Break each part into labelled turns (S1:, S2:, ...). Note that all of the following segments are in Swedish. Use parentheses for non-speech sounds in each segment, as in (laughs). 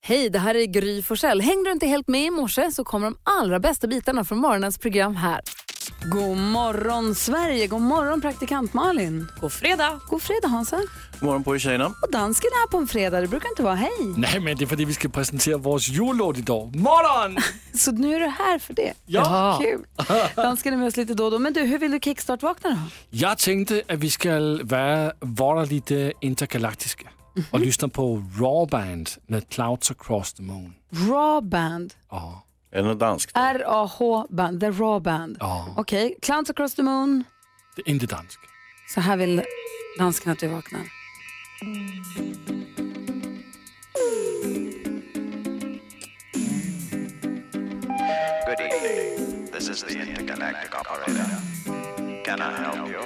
S1: Hej, det här är Gry Forssell. Hängde du inte helt med i morse så kommer de allra bästa bitarna från morgonens program här. God morgon Sverige, god morgon praktikant Malin.
S2: God fredag.
S1: God fredag Hansa.
S3: God morgon på er tjejerna.
S1: Och dansken är här på en fredag, det brukar inte vara hej.
S4: Nej, men det är för att vi ska presentera vår jullåt idag. (laughs) Morgon!
S1: Så nu är du här för det.
S4: Ja.
S1: Kul. Dansken är med oss lite då och då. Men du, hur vill du kickstart-vakna då?
S4: Jag tänkte att vi ska vara, vara lite intergalaktiska och lyssna på Raw Band med Clouds Across the Moon.
S1: Raw Band,
S4: Ja,
S3: Är det något danskt?
S1: R-A-H Band, The Raw Band.
S4: ja.
S1: Okej, Clowns across the moon.
S4: Det är inte dansk.
S1: Så här vill dansken att du vaknar.
S5: Good evening. This is the intergalactic operator. Can I help you?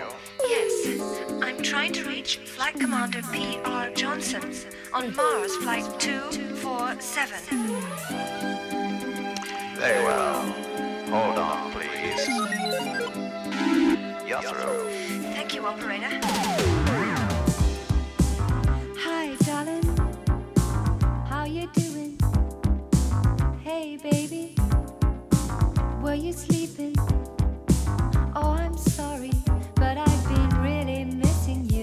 S6: Yes, I'm trying to reach Flight Commander P.R. Johnson on Mars Flight 247.
S5: Very well. Hold on, please. You're through.
S6: Thank you, operator. Hi, darling. How you doing? Hey, baby. Were you sleeping? Oh, I'm sorry, but I've been really missing you.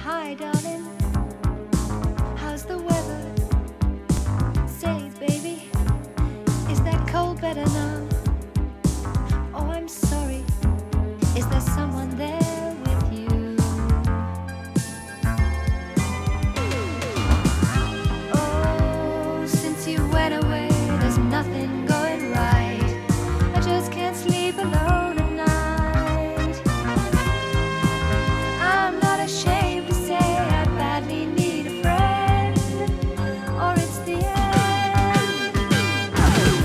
S6: Hi, darling. How's the weather? Say, baby. Is that cold better now? Oh, I'm sorry. Is there someone there with you? Oh, since you went away, there's nothing going right. I just can't sleep alone at night. I'm not ashamed to say I badly need a friend, or it's the end.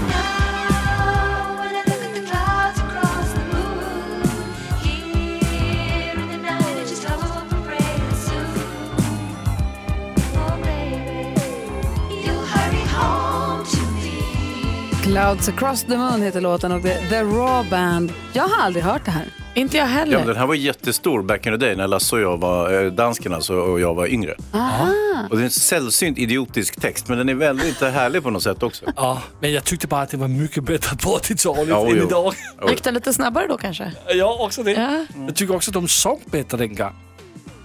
S6: Now, when I look at the clouds across the moon, here in the night, I just hope and pray that soon, oh baby, you'll hurry home to me.
S1: Clouds across the moon heter låten och det är The Raw Band. Jag har aldrig hört det här.
S2: Inte jag
S3: Ja, men
S2: heller.
S3: den här var jättestor back in the day när Lasse och jag var, eh, dansken alltså, och jag var yngre. Och det är en sällsynt idiotisk text, men den är väldigt härlig på något sätt också.
S4: Ja, men jag tyckte bara att det var mycket bättre på 80-talet
S3: Ja,
S4: än
S3: jo.
S4: idag.
S2: Gick den lite snabbare då kanske?
S4: Ja, också det.
S2: Ja.
S4: Jag tycker också att de sång bättre den gången.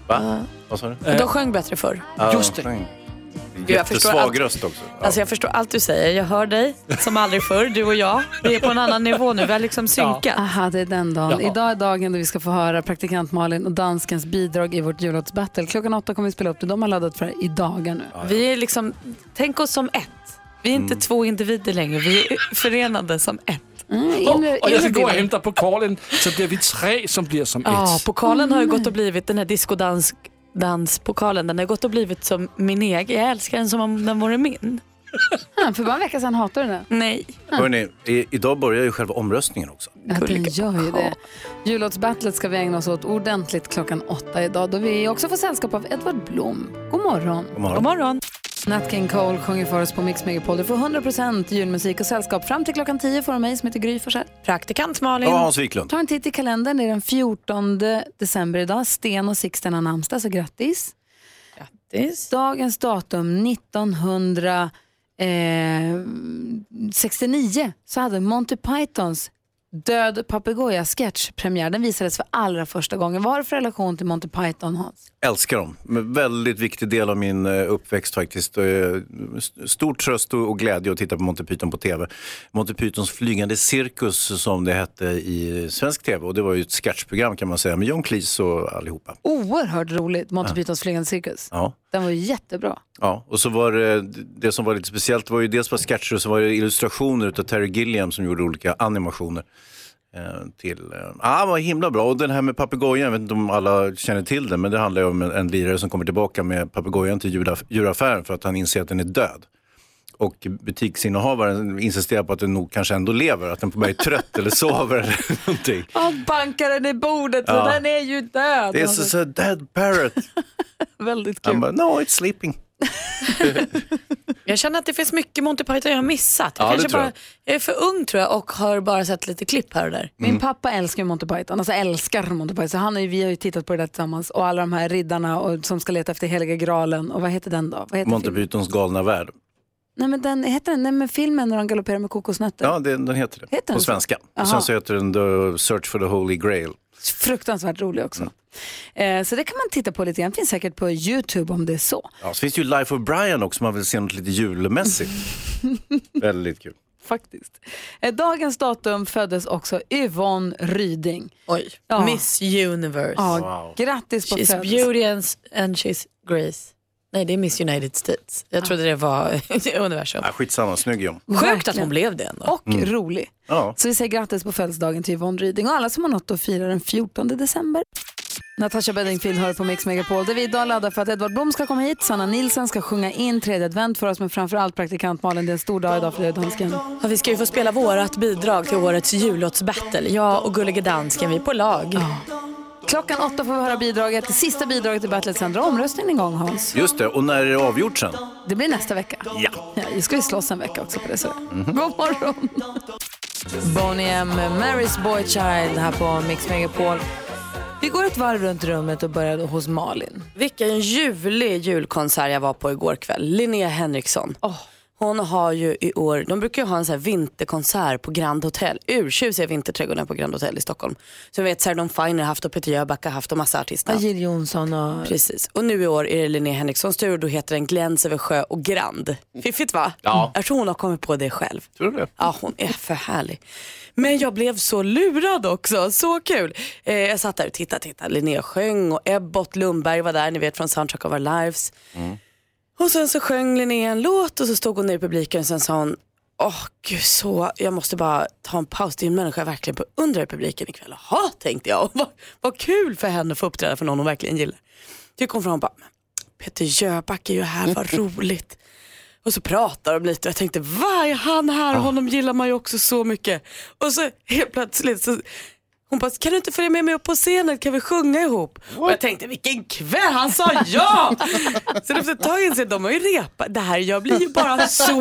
S3: Va? Vad sa du? Ah,
S2: De sjöng bättre förr.
S4: Just det.
S2: jag förstår allt.
S3: Jättesvag röst också. Ja.
S2: Alltså jag förstår allt du säger. Jag hör dig som aldrig förr, du och jag. Vi är på en annan nivå nu. Vi har liksom synkat.
S1: Aha, det är den dagen.
S4: Ja.
S1: Idag är dagen då vi ska få höra praktikant Malin och danskens bidrag i vårt jullåtsbattle. Klockan åtta kommer vi spela upp det. De har laddat för i dagar nu.
S2: Vi är liksom, tänk oss som ett. Vi är inte två individer längre, vi är förenade som ett.
S1: Inre,
S4: Och
S1: inre
S4: jag ska gå och
S1: bilden.
S4: hämta pokalen så blir vi tre som blir som ett.
S2: Ja, pokalen har ju gått och blivit den här discodans danspokalen, den har gått och blivit som min egen. Jag älskar den som om den vore min.
S1: Ja, för bara en vecka sedan hatade du den.
S2: Nej.
S3: Hörrni, i, idag börjar ju själva omröstningen också.
S1: Ja, det
S2: Gulliga
S1: gör ju det. Jullåtsbattlet ska vi ägna oss åt ordentligt klockan åtta idag då vi också får sällskap av Edvard Blom. God morgon.
S3: God morgon.
S2: God morgon.
S1: Nat King Cole sjunger för oss på Mix Megapol. Du får 100% julmusik och sällskap fram till klockan tio från mig som heter Gry Forssell.
S2: Praktikant Malin.
S3: Ja, Hans Wiklund.
S1: Ta en titt i kalendern. Det är den 14 december idag. Sten och Sixten har namnsdag, så grattis.
S2: Grattis.
S1: Dagens datum 1969 så hade Monty Pythons Död papegoja-sketch premiär. Den visades för allra första gången. Vad har du för relation till Monty Python, Hans?
S3: Älskar dem. Men Väldigt viktig del av min eh, uppväxt faktiskt. Eh, st- Stor tröst och och glädje att titta på Monty Python på tv. Monty Pythons flygande cirkus som det hette i svensk tv. Och det var ju ett sketchprogram kan man säga med John Cleese och allihopa.
S1: Oerhört roligt, Monty Pythons flygande cirkus.
S3: Ja.
S1: Den var ju jättebra.
S3: Ja, och så var det, det som var lite speciellt var ju dels var sketcher och så var det illustrationer utav Terry Gilliam som gjorde olika animationer. eh, Till, eh, ah, vad himla bra. Och den här med papegojan, jag vet inte om alla känner till den, men det handlar ju om en, en lirare som kommer tillbaka med papegojan till djuraff- djuraffären för att han inser att den är död. Och butiksinnehavaren insisterar på att den nog kanske ändå lever, att den bara är trött eller sover eller (laughs) någonting.
S1: Han bankar den i bordet,
S3: Ja.
S1: den är ju död. Alltså,
S3: Det är så, så dead parrot.
S1: Väldigt
S3: Han
S1: kul.
S3: bara, no it's sleeping.
S2: Jag känner att det finns mycket Monty Python jag har missat. Jag,
S3: Ja, det
S2: kanske
S3: tror
S2: bara,
S3: jag.
S2: jag är för ung tror jag och har bara sett lite klipp här och där.
S3: Mm.
S7: Min pappa älskar ju Monty Python, alltså älskar Monty Python. Så han har ju, vi har ju tittat på det där tillsammans och alla de här riddarna och, som ska leta efter heliga graalen och vad heter den då? Vad heter
S3: Monty
S7: filmen?
S3: Pythons galna värld.
S7: Nej men den, heter den, nej men filmen när de galopperar med kokosnötter.
S3: Ja, det, den heter det.
S7: Heter den
S3: på
S7: så?
S3: svenska.
S7: Jaha.
S3: Och sen så heter den The Search for the Holy Grail.
S7: Fruktansvärt rolig också.
S3: Mm.
S7: Eh, så det kan man titta på lite grann, finns säkert på YouTube om det är så.
S3: Ja, så finns det ju Life of Brian också om man vill se något lite (laughs) julmässigt. Väldigt kul.
S7: Faktiskt. Eh, dagens datum föddes också Yvonne Ryding.
S2: Oj.
S7: Ja.
S2: Miss Universe.
S7: Ja,
S3: Wow.
S7: Grattis på
S2: She's
S7: födelsedagen.
S2: beauty and, and she's grace. Nej, det är Miss United States. Jag trodde det var (laughs) universum.
S3: Ja, skitsamma, snygg är hon.
S2: Sjukt att
S7: verkligen.
S2: hon blev det ändå.
S7: Och
S3: Mm.
S7: rolig.
S3: Ja.
S7: Så vi säger grattis på födelsedagen till Yvonne Ryding och alla som har något att fira den 14 december. Natasha Bedingfield hör på Mix Megapol där vi idag laddar för att Edvard Blom ska komma hit, Sanna Nilsson ska sjunga in tredje advent för oss men framförallt praktikant Malin, det är en stor dag idag för Rödhansken.
S2: Ja, vi ska ju få spela vårat bidrag till årets jullåtsbattle. Jag och Gullige Dansken, vi är på lag.
S7: Klockan åtta får vi höra bidraget, det sista bidraget i battlet, sen drar omröstningen igång Hans.
S3: Just det, och när är det avgjort sen?
S7: Det blir nästa vecka.
S3: Ja.
S7: Ja, vi ska ju slåss en vecka också på det sättet. God morgon!
S1: Bonnie M, Mary's Boy Child här på Mix Megapol. Vi går ett varv runt rummet och börjar då hos Malin.
S2: Vilken ljuvlig julkonsert jag var på igår kväll. Linnea Henriksson. Hon har ju i år, de brukar ju ha en sån här vinterkonsert på Grand Hotel. Urtjusiga vinterträdgården på Grand Hotel i Stockholm. Så vi vet Sardon Finer haft och Peter Jöback har haft och massa artister.
S1: Jill Johnson och...
S2: Precis. Och nu i år är det Linnea Henrikssons tur och då heter den Gläns över sjö och Grand. Fiffigt va? Ja. Jag tror hon har kommit på det själv.
S3: Tror du det?
S2: Ja, hon är för härlig. Men jag blev så lurad också, så kul. Eh, jag satt där och tittade, tittade. Linnea sjöng och Ebbot Lundberg var där, ni vet från Soundtrack of Our Lives.
S3: Mm.
S2: Och sen så sjöng Linnea en låt och så stod hon ner i publiken och sen sa hon, åh gud så, jag måste bara ta en paus, det är en människa jag verkligen beundrar i publiken ikväll. Jaha, tänkte jag, (laughs) vad, vad kul för henne att få uppträda för någon hon verkligen gillar. Så kom hon fram och bara, "Men Peter Jöback är ju här, vad roligt. Och så pratar de lite och jag tänkte, vad är han här? Honom gillar man ju också så mycket. Och så helt plötsligt så hon bara, kan du inte följa med mig upp på scenen? Kan vi sjunga ihop? Och jag tänkte, vilken kväll! Han sa ja! så efter ett tag inser jag, de har ju repat. Det här, jag blir ju bara så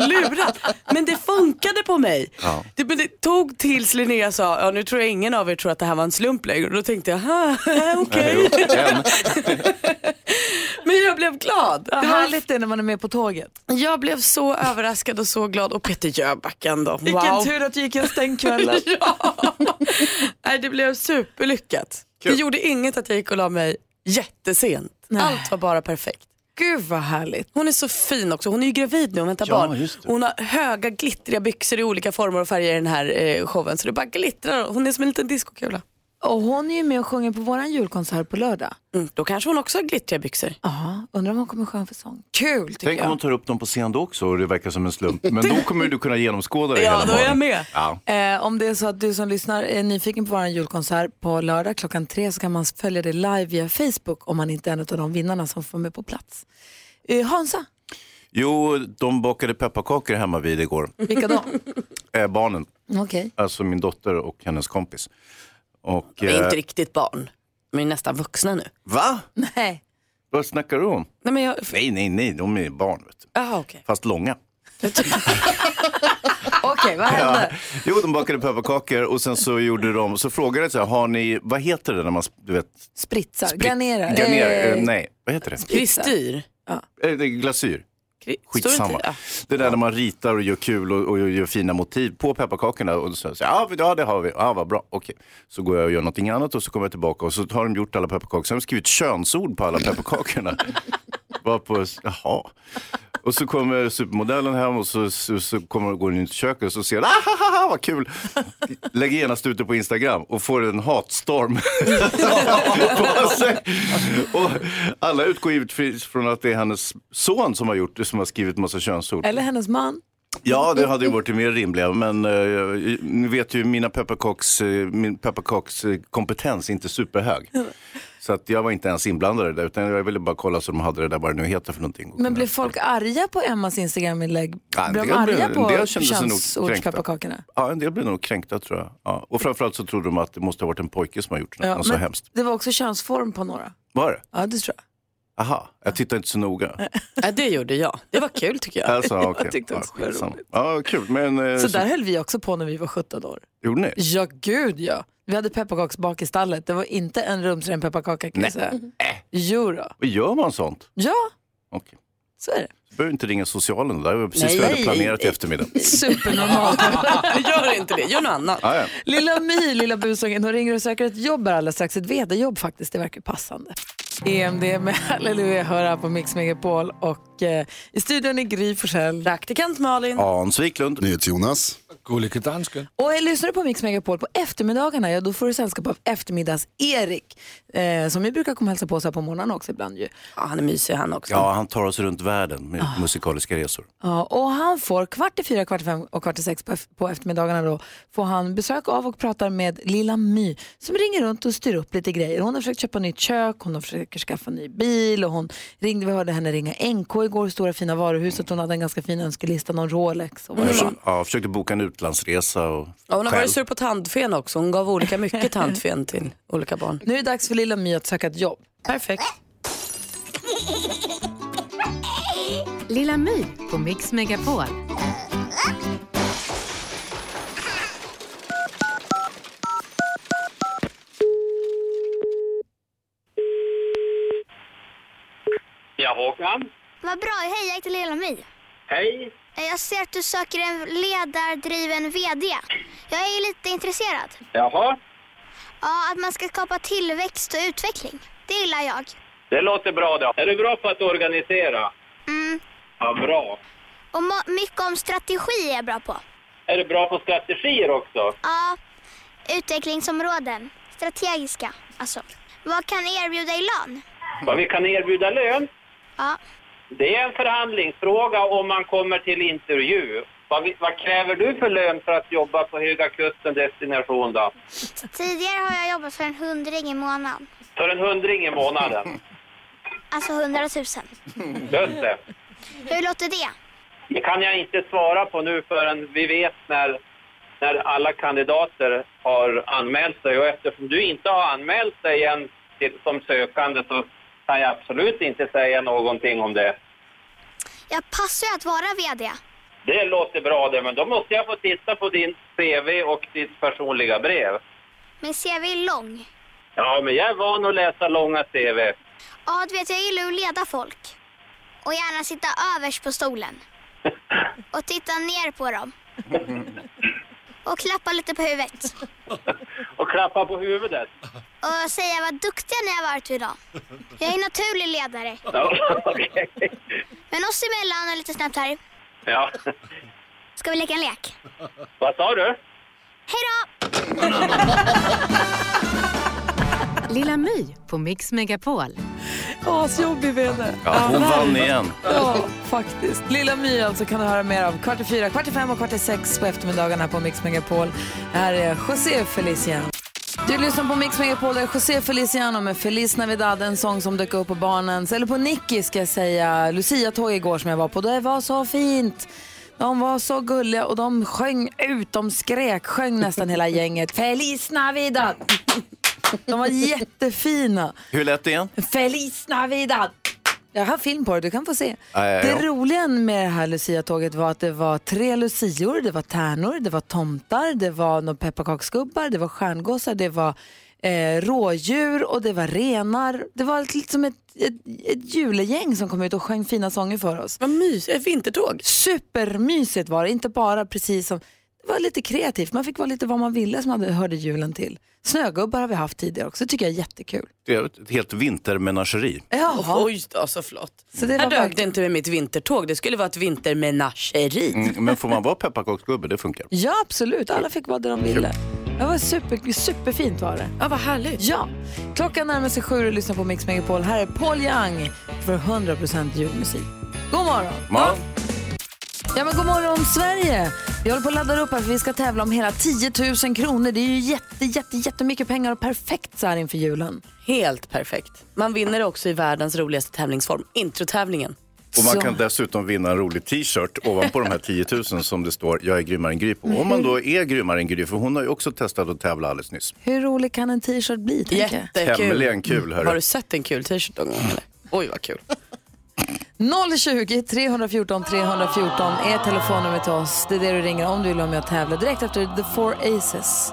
S2: lurad. Men det funkade på mig. Det, men det tog tills Linnea sa, ja nu tror jag ingen av er tror att det här var en slump längre. Och då tänkte jag, "Ha, (laughs) okej.
S3: En.
S2: (laughs) Men jag blev glad.
S1: Det
S2: Det
S1: är
S2: var
S1: härligt det när man är med på tåget.
S2: jag blev så överraskad och så glad. Och Peter Jöback ändå.
S1: Vilken
S2: Wow. (laughs)
S1: tur att du gick en stängd kväll.
S2: Ja. Nej, det blev superlyckat. Det gjorde inget att jag gick och la mig jättesent. Allt var bara perfekt.
S1: Gud vad härligt.
S2: Hon är så fin också. Hon är ju gravid nu och väntar barn.
S3: just det.
S2: Hon har höga glittriga byxor i olika former och färger i den här eh, showen. Så det bara glittrar. Hon är som en liten diskokula.
S1: Och hon är ju med och sjunger på våran julkonsert på lördag.
S2: Mm, då kanske hon också har glittriga byxor.
S1: Ja, undrar om hon kommer sjunga för sång.
S2: Kul tycker
S3: Tänk om hon
S2: jag.
S3: tar upp dem på scen då också och det verkar som en slump. Men då kommer du kunna genomskåda det
S2: Ja, då
S3: hela
S2: är jag
S3: morgonen.
S2: med.
S3: Ja.
S1: Eh, om det är så att du som lyssnar är nyfiken på våran julkonsert på lördag klockan tre så kan man följa det live via Facebook om man inte är en av de vinnarna som får med på plats. Eh, Hansa,
S3: Jo, de bakade pepparkakor hemma vid igår.
S1: vilka då?
S3: Eh, barnen,
S1: (laughs) Okej.
S3: alltså min dotter och hennes kompis. Och,
S2: Vi är
S3: eh,
S2: inte riktigt barn. Vi är nästan vuxna nu.
S3: Va?
S1: Nej.
S3: Vad snackar du om?
S2: Nej, men jag...
S3: Nej, nej, nej, de är barn. Vet du.
S2: Jaha, okej.
S3: Fast långa.
S1: Okej, vad hände?
S3: Ja. Jo, de bakade pepparkakor och sen så gjorde de, så frågade jag så här, har ni, vad heter det när man, du vet,
S1: Spritsar, garnerar.
S3: garnerar,
S1: Eh,
S3: eh, nej, vad heter det?
S2: Kristyr.
S3: Eh, det är glasyr.
S2: Kri- står det inte-
S3: Skitsamma.
S2: ja.
S3: Det där när man ritar och gör kul och, och gör fina motiv på pepparkakorna. Och så säger jag, "Ja, vi- ja det har vi, ja vad bra, okej. Så går jag och gör någonting annat och så kommer jag tillbaka och så har de gjort alla pepparkakor. Sen har de skrivit könsord på alla pepparkakorna. Bara på, jaha. Och så kommer supermodellen hem och så, så, så kommer, går hon in i köket och så ser "Ah, hon, ahaha vad kul. Lägger genast ut det på Instagram och får en hatstorm (laughs) på sig. Och alla utgår givetvis från att det är hennes son som har gjort det, som har skrivit massa könsord.
S1: Eller hennes man.
S3: Ja, det hade ju varit det mer rimliga. Men eh, ni vet ju, mina pepparkaks, eh, min pepparkakskompetens är inte superhög. Så att jag var inte ens inblandad i det, utan jag ville bara kolla så de hade det där, vad det nu heter för någonting.
S1: Men blev folk arga på Emmas Instagram-inlägg?
S3: Ja,
S1: blev de
S3: en del blev-
S1: arga
S3: en
S1: på
S3: del kände sig nog
S1: könsordspepparkakorna?
S3: Ja, en del blev nog kränkta tror jag. Ja. Och framförallt så trodde de att det måste ha varit en pojke som har gjort något
S1: Ja,
S3: så
S1: men
S3: hemskt.
S1: Det var också könsform på några.
S3: Var det?
S1: Ja, det tror jag.
S3: Aha, jag tittar inte så noga.
S2: Ja, det gjorde jag. Det var kul tycker jag.
S3: (laughs)
S1: (laughs)
S3: Alltså, okay. jag
S1: tyckte också det var
S3: Ja, kul. Men, eh,
S1: Så där höll vi också på när vi var 17 år.
S3: Gjorde ni?
S1: Ja, gud ja. Vi hade pepparkaksbak i stallet. Det var inte en rumsren pepparkaka kan jag
S3: Nej. Mm. Äh.
S1: säga. Jo då.
S3: Vad gör man sånt?
S1: Ja,
S3: Okej.
S1: så är det.
S3: Du behöver inte ringa socialen. Det där var precis vad jag
S1: Nej,
S3: hade planerat i
S1: (laughs)
S3: eftermiddag.
S1: Supernormalt. (laughs)
S2: Gör inte det, gör något annat.
S3: Ah, ja.
S1: lilla My, lilla busungen, hon ringer och söker ett jobb här alldeles strax. Ett vd-jobb faktiskt, det verkar passande. EMD med Halleluja hör här på Mix Megapol och eh, i studion är Gry Forssell.
S2: Praktikant Malin.
S3: Hans Wiklund.
S8: Jonas.
S4: Gullige dansken.
S1: Och eh, lyssnar du på Mix Megapol på eftermiddagarna, ja då får du sällskap av eftermiddags-Erik. Eh, som vi brukar komma och hälsa på oss här på morgonen också ibland ju.
S2: Ja, han är mysig han också.
S3: Ja, han tar oss runt världen med musikaliska resor.
S1: Ja, och han får kvart i fyra, kvart i fem och kvart i sex på, eff- på eftermiddagarna då får han besök av och pratar med lilla My som ringer runt och styr upp lite grejer. Hon har försökt köpa nytt kök, hon försöker skaffa ny bil och hon ringde, vi hörde henne ringa NK igår, stora fina varuhuset. Hon hade en ganska fin önskelista, någon Rolex och
S3: Mm.
S1: vad det var.
S3: Ja, försökte boka en utlandsresa. Och
S2: Ja, hon har
S3: själv.
S2: varit sur på tandfen också. Hon gav olika mycket tandfen
S3: (laughs)
S2: till olika barn.
S1: Nu är det dags för lilla My att söka ett jobb.
S2: Perfekt.
S9: Lilla My på Mix Megapol.
S10: Ja, Håkan.
S11: Vad bra, hej jag heter Lilla My.
S10: Hej.
S11: Eh, Jag ser att du söker en ledardriven VD. Jag är lite intresserad.
S10: Jaha,
S11: Ja, att man ska skapa tillväxt och utveckling. Det gillar jag.
S10: det låter bra då. Är du bra på att organisera?
S11: Mm.
S10: Ja, bra.
S11: Och mo- mycket om strategi är jag bra på.
S10: Är du bra på strategier också?
S11: Ja, utvecklingsområden. Strategiska, alltså. Vad kan jag erbjuda i lön?
S10: Vad vi kan erbjuda lön?
S11: Ja,
S10: Det är en förhandlingsfråga om man kommer till intervju. Vad, vi, vad kräver du för lön för att jobba på Höga Kusten destination då?
S11: tidigare har jag jobbat för en hundring i månaden.
S10: För en hundring i månaden.
S11: Alltså hundratusen.
S10: Just det.
S11: Hur låter det?
S10: Det kan jag inte svara på nu förrän vi vet när, när alla kandidater har anmält sig. Och eftersom du inte har anmält dig än till, som sökande så kan jag absolut inte säga någonting om det.
S11: Jag passar ju att vara VD.
S10: Det låter bra det, men då måste jag få titta på din CV och ditt personliga brev.
S11: Min CV är lång.
S10: Ja, men jag är van att läsa långa CV.
S11: Ja, du vet, jag gillar att leda folk. Och gärna sitta överst på stolen. Och titta ner på dem. Och klappa lite på huvudet.
S10: Och klappa på huvudet.
S11: Och säga vad duktiga ni har varit idag. Jag är naturlig ledare.
S10: Ja, (laughs) okej.
S11: Men oss emellan och lite snabbt här.
S10: ja.
S11: Ska vi leka en lek?
S10: Vad sa du?
S11: Hej då!
S9: Lilla My på Mix Megapol.
S1: Asjobbig VD.
S3: Ja, hon vann igen.
S1: Ja, faktiskt. Lilla My alltså kan du höra mer av kvart i fyra, kvart i fem och kvart i sex på eftermiddagarna på Mix Megapol. Här är José Feliciano. Du lyssnar på Mix Megapol, det är José Feliciano med Feliz Navidad, en sång som dök upp på barnens, eller på Nicky ska jag säga, Lucia-tåg igår som jag var på. Det var så fint. De var så gulliga och de sjöng ut, de skrek, sjöng nästan hela gänget. Feliz Navidad! De var jättefina.
S3: Hur lät det igen?
S1: Feliz Navidad! Jag har film på det, du kan få se.
S3: Ja, ja, ja.
S1: Det roliga med det här Lucia-tåget var att det var tre lucior, det var tärnor, det var tomtar, det var några pepparkaksgubbar, det var stjärngossar, det var eh, rådjur och det var renar. Det var ett- lite som ett, ett, ett julegäng som kom ut och sjöng fina sånger för oss.
S2: Vad mysigt, ett vintertåg.
S1: Supermysigt var det, inte bara precis som... Det var lite kreativt, man fick vara lite vad man ville som man hörde julen till. Snögubbar har vi haft tidigare också, det tycker jag är jättekul.
S3: Det är ett helt vintermenageri.
S1: Jaha.
S2: Oj då, så flott.
S1: Så det
S2: Här
S1: var
S2: dög det inte med mitt vintertåg. Det skulle vara ett vintermenageri.
S3: Mm, Men får man vara pepparkaksgubbe? Det funkar.
S1: Ja, absolut. Alla fick vara det de ville. Det var super, superfint var det.
S2: Ja, vad härligt.
S1: Ja, klockan närmar sig sju och lyssna på Mix Megapol. Här är Paul Young för 100% julmusik. God morgon!
S3: Man,
S1: Ja, men god morgon Sverige! Vi håller på att ladda upp här för vi ska tävla om hela 10 000 kronor. Det är ju jätte, jätte, jättemycket pengar och perfekt så här inför julen.
S2: Helt perfekt. Man vinner också i världens roligaste tävlingsform, introtävlingen.
S3: och man
S1: Så.
S3: kan dessutom vinna en rolig t-shirt ovanpå de här 10 000 som det står jag är grymmare än Gry på. Om man då är grymmare än Gry, för hon har ju också testat att tävla alldeles nyss.
S1: Hur rolig kan en t-shirt bli? tänker jag?
S2: Jättekul.
S3: Tämligen kul, hörru.
S2: Har du sett en kul t-shirt någon gång? eller? Oj, vad kul.
S1: 020 314 314 är telefonnumret till oss. Det är det du ringer om du vill vara med och tävla direkt efter The Four Aces.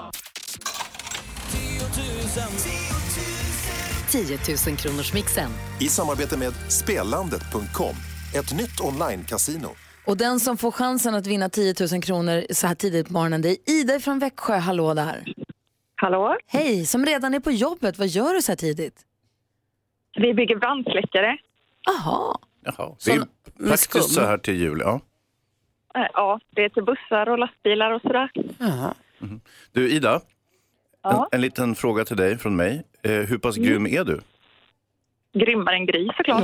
S9: 10 000 kronors mixen.
S8: I samarbete med Spelandet.com, ett nytt online-casino.
S1: Och den som får chansen att vinna 10 000 kronor så här tidigt på morgonen, det är Ida från Växjö. Hallå där.
S12: Hallå?
S1: Hej, som redan är på jobbet. Vad gör du så här tidigt?
S12: Vi bygger brandsläckare.
S1: Aha.
S3: Jaha, det är
S12: med
S3: praktiskt
S12: skum.
S3: så här till jul. Ja.
S12: Eh, Ja, det är till bussar och lastbilar och sådär.
S3: Du Ida,
S12: Ja.
S3: en, en liten fråga till dig från mig. Eh, hur pass
S12: Mm.
S3: grym är du?
S12: Grymmare än gris såklart.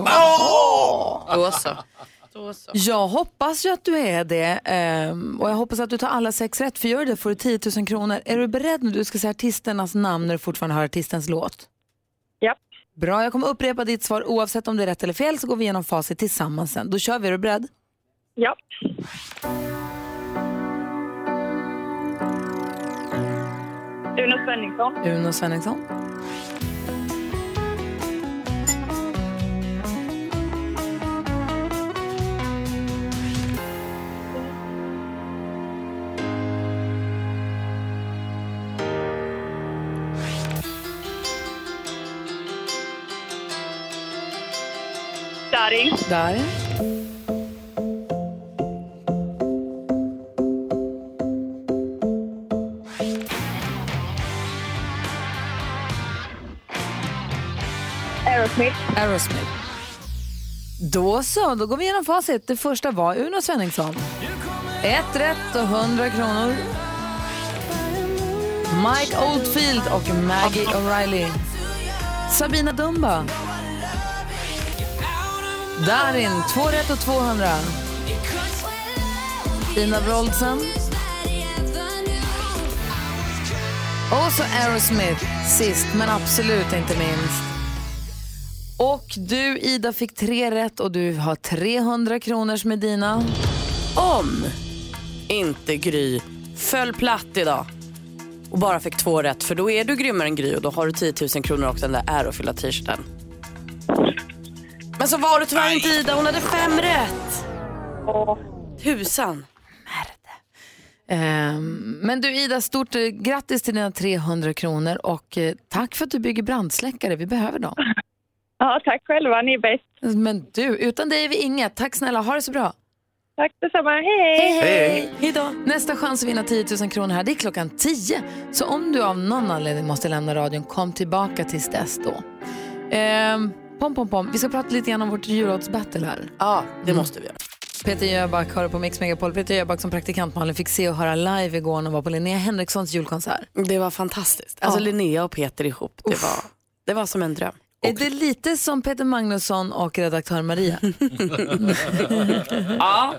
S2: Då så.
S1: Jag hoppas ju att du är det ehm, och jag hoppas att du tar alla sex rätt för gör du det får du 10 000 kronor. Är du beredd nu? Du ska säga artisternas namn när du fortfarande hör artistens låt.
S12: Ja.
S1: Bra, jag kommer upprepa ditt svar oavsett om det är rätt eller fel så går vi igenom facit tillsammans sen. Då kör vi, är du beredd?
S12: Ja. Uno Svenningsson.
S1: Uno Svenningsson.
S12: Darin.
S1: Darin.
S12: Aerosmith.
S1: Aerosmith. Då så, då går vi igenom facit. Det första var Uno Svenningsson. Ett rätt och 100 kronor. Mike Oldfield och Maggie O'Reilly. Sabina Dumba. Darin, två rätt och 200. Ina Wroldsen. Och så Aerosmith, sist men absolut inte minst. Och du Ida fick tre rätt och du har 300 kronor som är dina.
S2: Om inte Gry föll platt idag och bara fick två rätt, för då är du grymmare än Gry och då har du 10 000 kronor och den där ärofyllda t-shirten. Men så var det tyvärr inte Ida, hon hade fem rätt. Tusan.
S1: Ehm, men du Ida, stort eh, grattis till dina 300 kronor och eh, tack för att du bygger brandsläckare. Vi behöver dem.
S12: Ja, tack själva. Ni är bäst.
S1: Men du, utan dig är vi inget. Tack snälla, ha det så bra.
S12: Tack detsamma. Hej, hej.
S1: Hejdå. Nästa chans att vinna 10 000 kronor här, det är klockan 10. Så om du av någon anledning måste lämna radion, kom tillbaka tills dess då. Ehm, pom, pom, pom. Vi ska prata lite grann om vårt jullåtsbattle här.
S2: Ja, det måste vi göra.
S1: Peter Jöback hör på Mix Megapol. Peter Jöback som praktikant Malin fick se och höra live igår när hon var på Linnea Henrikssons julkonsert.
S2: Det var fantastiskt. Alltså
S1: Ja.
S2: Linnea och Peter ihop, det var, det var som en dröm.
S1: Är det lite som Peter Magnusson och redaktör Maria?
S2: ja,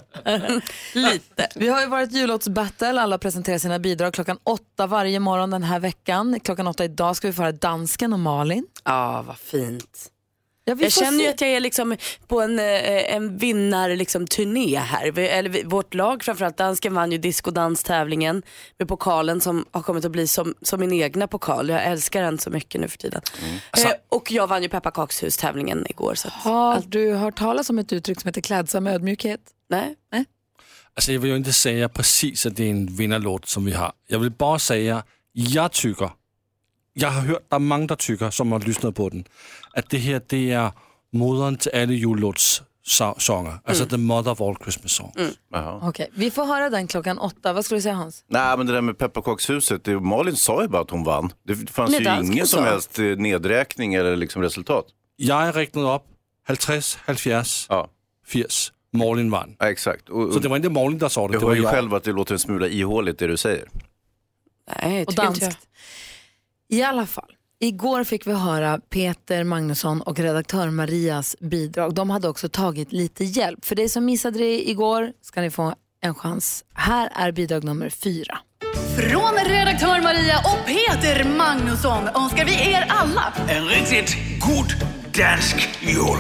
S2: lite.
S1: Vi har ju varit jullåtsbattle. Alla presenterar sina bidrag klockan åtta varje morgon den här veckan. Klockan åtta idag ska vi föra dansken och Malin.
S2: Ja, vad fint.
S1: Ja, vi
S2: jag
S1: får
S2: känner ju
S1: se.
S2: att jag är liksom på en, eh, en vinnarturné liksom, turné här. Vi, eller, vi, vårt lag framförallt, dansken vann ju diskodanstävlingen med pokalen som har kommit att bli som, som min egna pokal. Jag älskar den så mycket nu för tiden. Eh, och jag vann ju pepparkakshustävlingen igår. Så att,
S1: Har du hört talas om ett uttryck som heter klädsam ödmjukhet?
S2: Nej.
S1: Nej.
S4: Alltså jag vill ju inte säga precis att det är en vinnarlåt som vi har. Jag vill bara säga, jag tycker, jag har hört, der er mange, der tycker, som har lyssnat på den, att det här det är modern till alla jullåtssånger. Alltså the mother of all Christmas songs.
S3: Jaha.
S1: Okej, vi får höra den klockan åtta. Vad skulle du säga Hans?
S3: Nej, men det där med pepparkakshuset, det, Malin sa ju bara att hon vann. Det fanns
S1: Nej,
S3: ju
S1: dansken
S3: ingen som
S1: sa.
S3: helst eh, nedräkning eller liksom resultat.
S4: Jag räknade upp 50, 70,
S3: Ja.
S4: 80. Malin vann.
S3: Ja, exakt. Och, och,
S4: Så det var inte Malin som sa Mm. det,
S3: jag
S4: det
S3: hör
S4: var
S3: ju
S4: jag.
S3: själv att det låter en smula ihåligt det du säger.
S2: Nej,
S1: Och danskt. I alla fall, igår fick vi höra Peter Magnusson och redaktör Marias bidrag. De hade också tagit lite hjälp. För dig som missade det igår ska ni få en chans. Här är bidrag nummer fyra.
S13: Från redaktör Maria och Peter Magnusson önskar vi er alla
S5: En riktigt god dansk jul.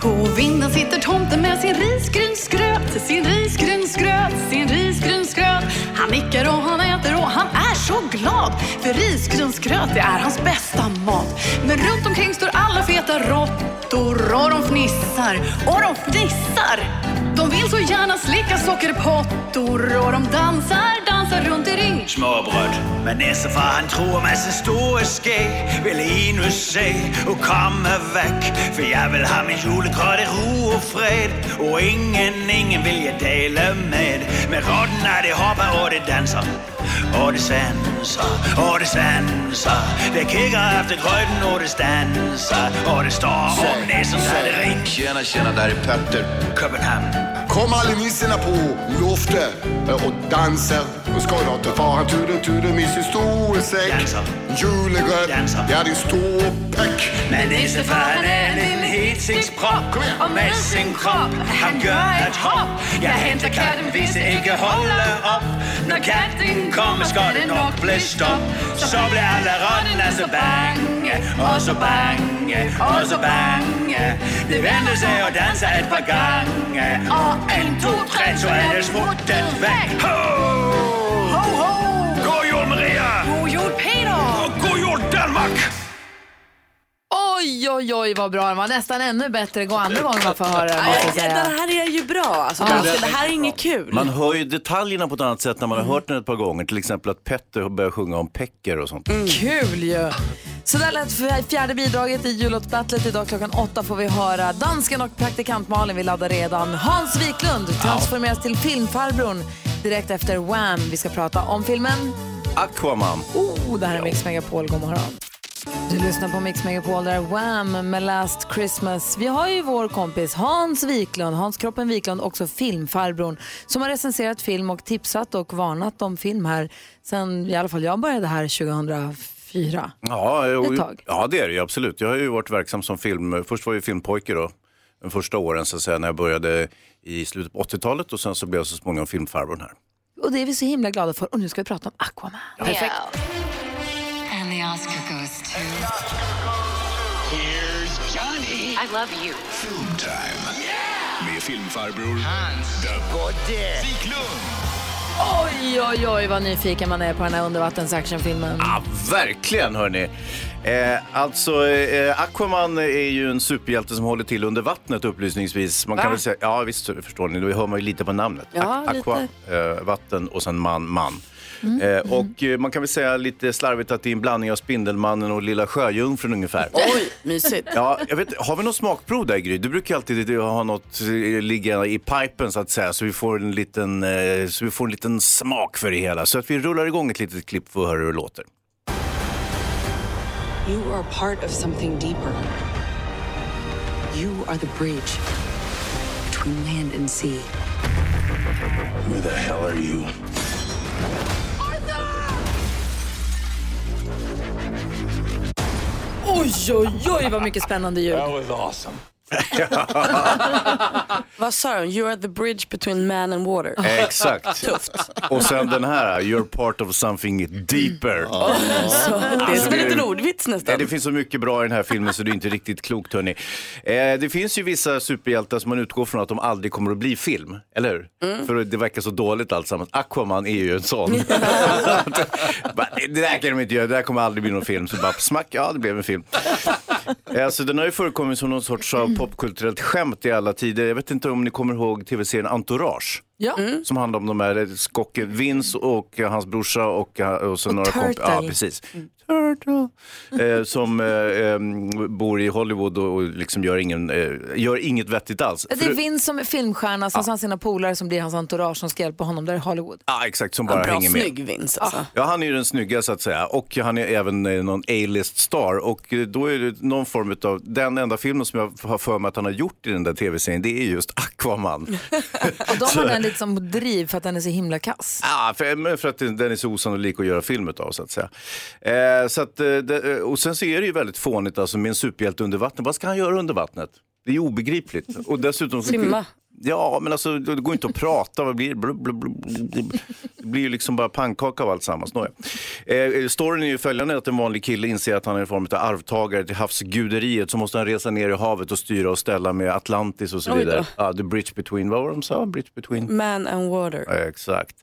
S13: På vinden sitter tomten med sin risgrynsgröt Sin risgrynsgröt, sin risgrynsgröt Han nickar och han äter och han är så glad för risgrynsgröt det är hans bästa mat. Men runt omkring står alla feta råttor och de fnissar och de fnissar. De vill så gärna slicka sockerpottor och de dansar, dansar runt i ring.
S5: Smørbrød med næsefar, han tror med sin store ske Vil endnu se og komme væk For jeg vil have min julegrød i ro og fred Og ingen, ingen vil jeg dele med Med rotten er det hopper og det danser Og det sanser, og det sanser Det kigger efter grøden og det stanser Og det står om næsen, så er det ring
S14: Tjena, tjena, där är Petter.
S5: København
S14: Kom alla nissarna på loftet eh, och danser. Och ska du ta faran turen turen med sin store säck. Julegröt, ja din ståpäck.
S5: Men nissefar han er en helsingsprop Og med sin krop han gør et hop Jeg henter katten hvis det ikke holder op Når katten kommer skal det nok blive stop Så bliver alle rottene så bange Og så bange, og så bange De vender sig og danser et par gange Og en, to, tre, så er det smuttet væk Ho! Ho, ho! God jul Maria!
S13: God jul Peter!
S5: Og god jul Danmark!
S1: Oj, oj, oj vad bra den var. Nästan ännu bättre. Gå andra gången man får höra den. måste jag säga.
S2: Den Alltså, här är ju bra. Alltså,
S3: Ja.
S2: dansken, det här är inget kul.
S3: Man hör ju detaljerna på ett annat sätt när man har hört den ett par gånger. Till exempel att Petter börjar sjunga om Pecker och sånt.
S1: Mm. Kul ju! Så där lät f- fjärde bidraget i jullåtsbattlet. Idag klockan åtta får vi höra dansken och praktikant Malin. Vi laddar redan. Hans Wiklund transformeras till filmfarbrorn direkt efter Wham. Vi ska prata om filmen
S3: Aquaman.
S1: Oh, det här är Mix Megapol. God morgon. Du lyssnar på Mix Megapol, där är Wham med Last Christmas. Vi har ju vår kompis Hans Wiklund, Hans Kroppen Wiklund, också filmfarbrorn, som har recenserat film och tipsat och varnat om film här sen i alla fall jag började här 2004.
S3: Ja, jo,
S1: Ett tag.
S3: ja, det är det ju absolut. Jag har ju varit verksam som film. Först var jag ju filmpojke då, de första åren så att säga, när jag började i slutet på 80-talet och sen så blev jag så småningom filmfarbrorn här.
S1: Och det är vi så himla glada för. Och nu ska vi prata om Aquaman.
S15: Perfekt. And the Oscar goes to... Here's Johnny. I love you. Film time.
S16: Med filmfarbror Hans The Bodde Wiklund.
S1: Oj, oj, oj vad nyfiken man är på den här undervattensactionfilmen.
S3: Ja, verkligen hörni. Eh, alltså, eh, Aquaman är ju en superhjälte som håller till under vattnet upplysningsvis. Man kan
S1: Va?
S3: väl säga, ja visst det förstår ni, då hör man ju lite på namnet.
S1: Ja, Mm.
S3: Aqua, eh, vatten och sen man, man. Eh, och eh, man kan väl säga lite slarvigt att det är en blandning av Spindelmannen och Lilla Sjöjungfrun ungefär.
S2: (laughs) Oj, mysigt.
S3: Ja, jag vet, har vi något smakprov där Gry? Du brukar ju alltid ha något eh, ligga i pipen så att säga så vi får en liten, eh, så vi får en liten smak för det hela. Så att vi rullar igång ett litet klipp för att höra hur det låter.
S17: You are part of something deeper. You are the bridge between land and sea.
S5: Who the hell are you?
S1: Oj, oj, oj vad mycket spännande ljud.
S5: That was awesome.
S2: Vad sa de? You are the bridge between man and water.
S3: Exakt.
S2: Tufft.
S3: Och sen den här, you're part of something deeper.
S2: Så, Alltså, det är som en liten ordvits
S3: Nej,
S2: nästan.
S3: det finns så mycket bra i den här filmen så det är inte riktigt klokt hörni. Eh, det finns ju vissa superhjältar som man utgår från att de aldrig kommer att bli film, eller hur? För det verkar så dåligt alltsammans. Aquaman är ju en sån. (laughs) Bara, det där kan de inte göra, det där kommer aldrig bli någon film. Så bara smack, ja det blev en film. Eh, Alltså, den har ju förekommit som någon sorts av popkulturellt skämt i alla tider. Jag vet inte om ni kommer ihåg tv-serien Entourage.
S1: Ja.
S3: Som handlar om de här skocken Vince och eh, hans brorsa och, eh, och så några kompisar. Ja,
S18: Turtle.
S3: precis. Turtle. Eh, som eh, em, bor i Hollywood och, och liksom gör, ingen, eh, gör inget vettigt alls.
S1: Det är Vince som är filmstjärna,
S3: Ah.
S1: sen så har han sina polare som blir hans entourage som ska hjälpa honom där i Hollywood.
S3: Ja, exakt, som bara
S1: Ja, bra,
S3: hänger med.
S1: snygg Vince, alltså.
S3: Ja, han är ju den snygga så att säga. Och han är även eh, någon A-list star. Och eh, då är det någon form av, den enda filmen som jag har för mig att han har gjort i den där tv-serien, det är just
S1: (laughs)
S3: Aquaman.
S1: Och de har den lite som driv för att den är så himla kass.
S3: Ja, för, men för att den den är så osannolik att göra film utav så att säga. Eh, så att, eh, det, och sen så är det ju väldigt fånigt alltså med en superhjälte under vattnet. Vad ska han göra under vattnet? Det är ju obegripligt. Och dessutom så-
S2: Simma.
S3: Ja, men alltså det går inte att prata. Vad blir det? Blub, blub, blub, blub. Det blir ju liksom bara pannkaka av alltsammans. Nåja. Eh, storyn är ju följande att en vanlig kille inser att han är i form av arvtagare till havsguderiet så måste han resa ner i havet och styra och ställa med Atlantis och så
S2: Oj då.
S3: vidare. Ja, the bridge between, vad var det de sa? Bridge between?
S2: Man and water.
S3: Ja, Exakt.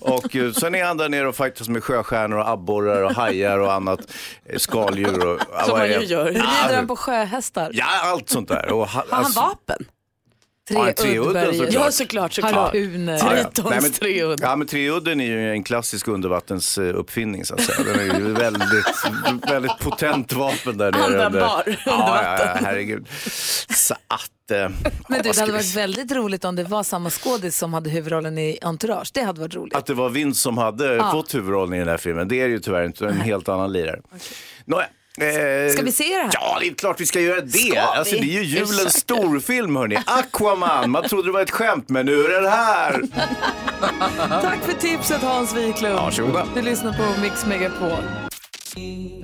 S3: Och eh, sen är han där nere och fightas med sjöstjärnor och abborrar och hajar och annat. eh, Skaldjur och... ja, vad
S1: man
S3: är
S1: ju
S3: det?
S1: gör. Rider han på sjöhästar?
S3: Ja, allt sånt där. Och, ha-
S1: Har han
S3: alltså-
S1: vapen?
S3: Ja, en treuddare
S1: Uddberg.
S3: såklart.
S1: Ja, såklart. såklart. Harpuner. Tritons
S3: Nej, men-
S2: treudd.
S3: Ja, men treudden är ju en klassisk undervattensuppfinning så att säga. Den
S1: (laughs)
S3: är ju väldigt, väldigt potent vapen där nere.
S1: Användbar under
S3: under ja, ja,
S1: vatten.
S3: ja, herregud. Så att... eh,
S1: Men du,
S3: vad
S1: typ- det
S3: ska
S1: hade
S3: vi
S1: varit väldigt roligt om det var samma skådis som hade huvudrollen i Entourage. Det hade varit roligt.
S3: Att det var Vince som hade
S1: Ja.
S3: fått huvudrollen i den här filmen, det är det ju tyvärr inte. En helt annan lirare. Nåja. Eh,
S1: Ska vi se det här?
S3: Ja, det är klart vi ska göra det.
S1: Ska vi?
S3: Alltså, det är ju julens
S1: Ursäkta.
S3: storfilm, hörni. Aquaman. Man trodde det var ett skämt, men nu är den här.
S1: Tack för tipset Hans Wiklund.
S3: Varsågoda.
S1: Du lyssnar på Mix Megapol.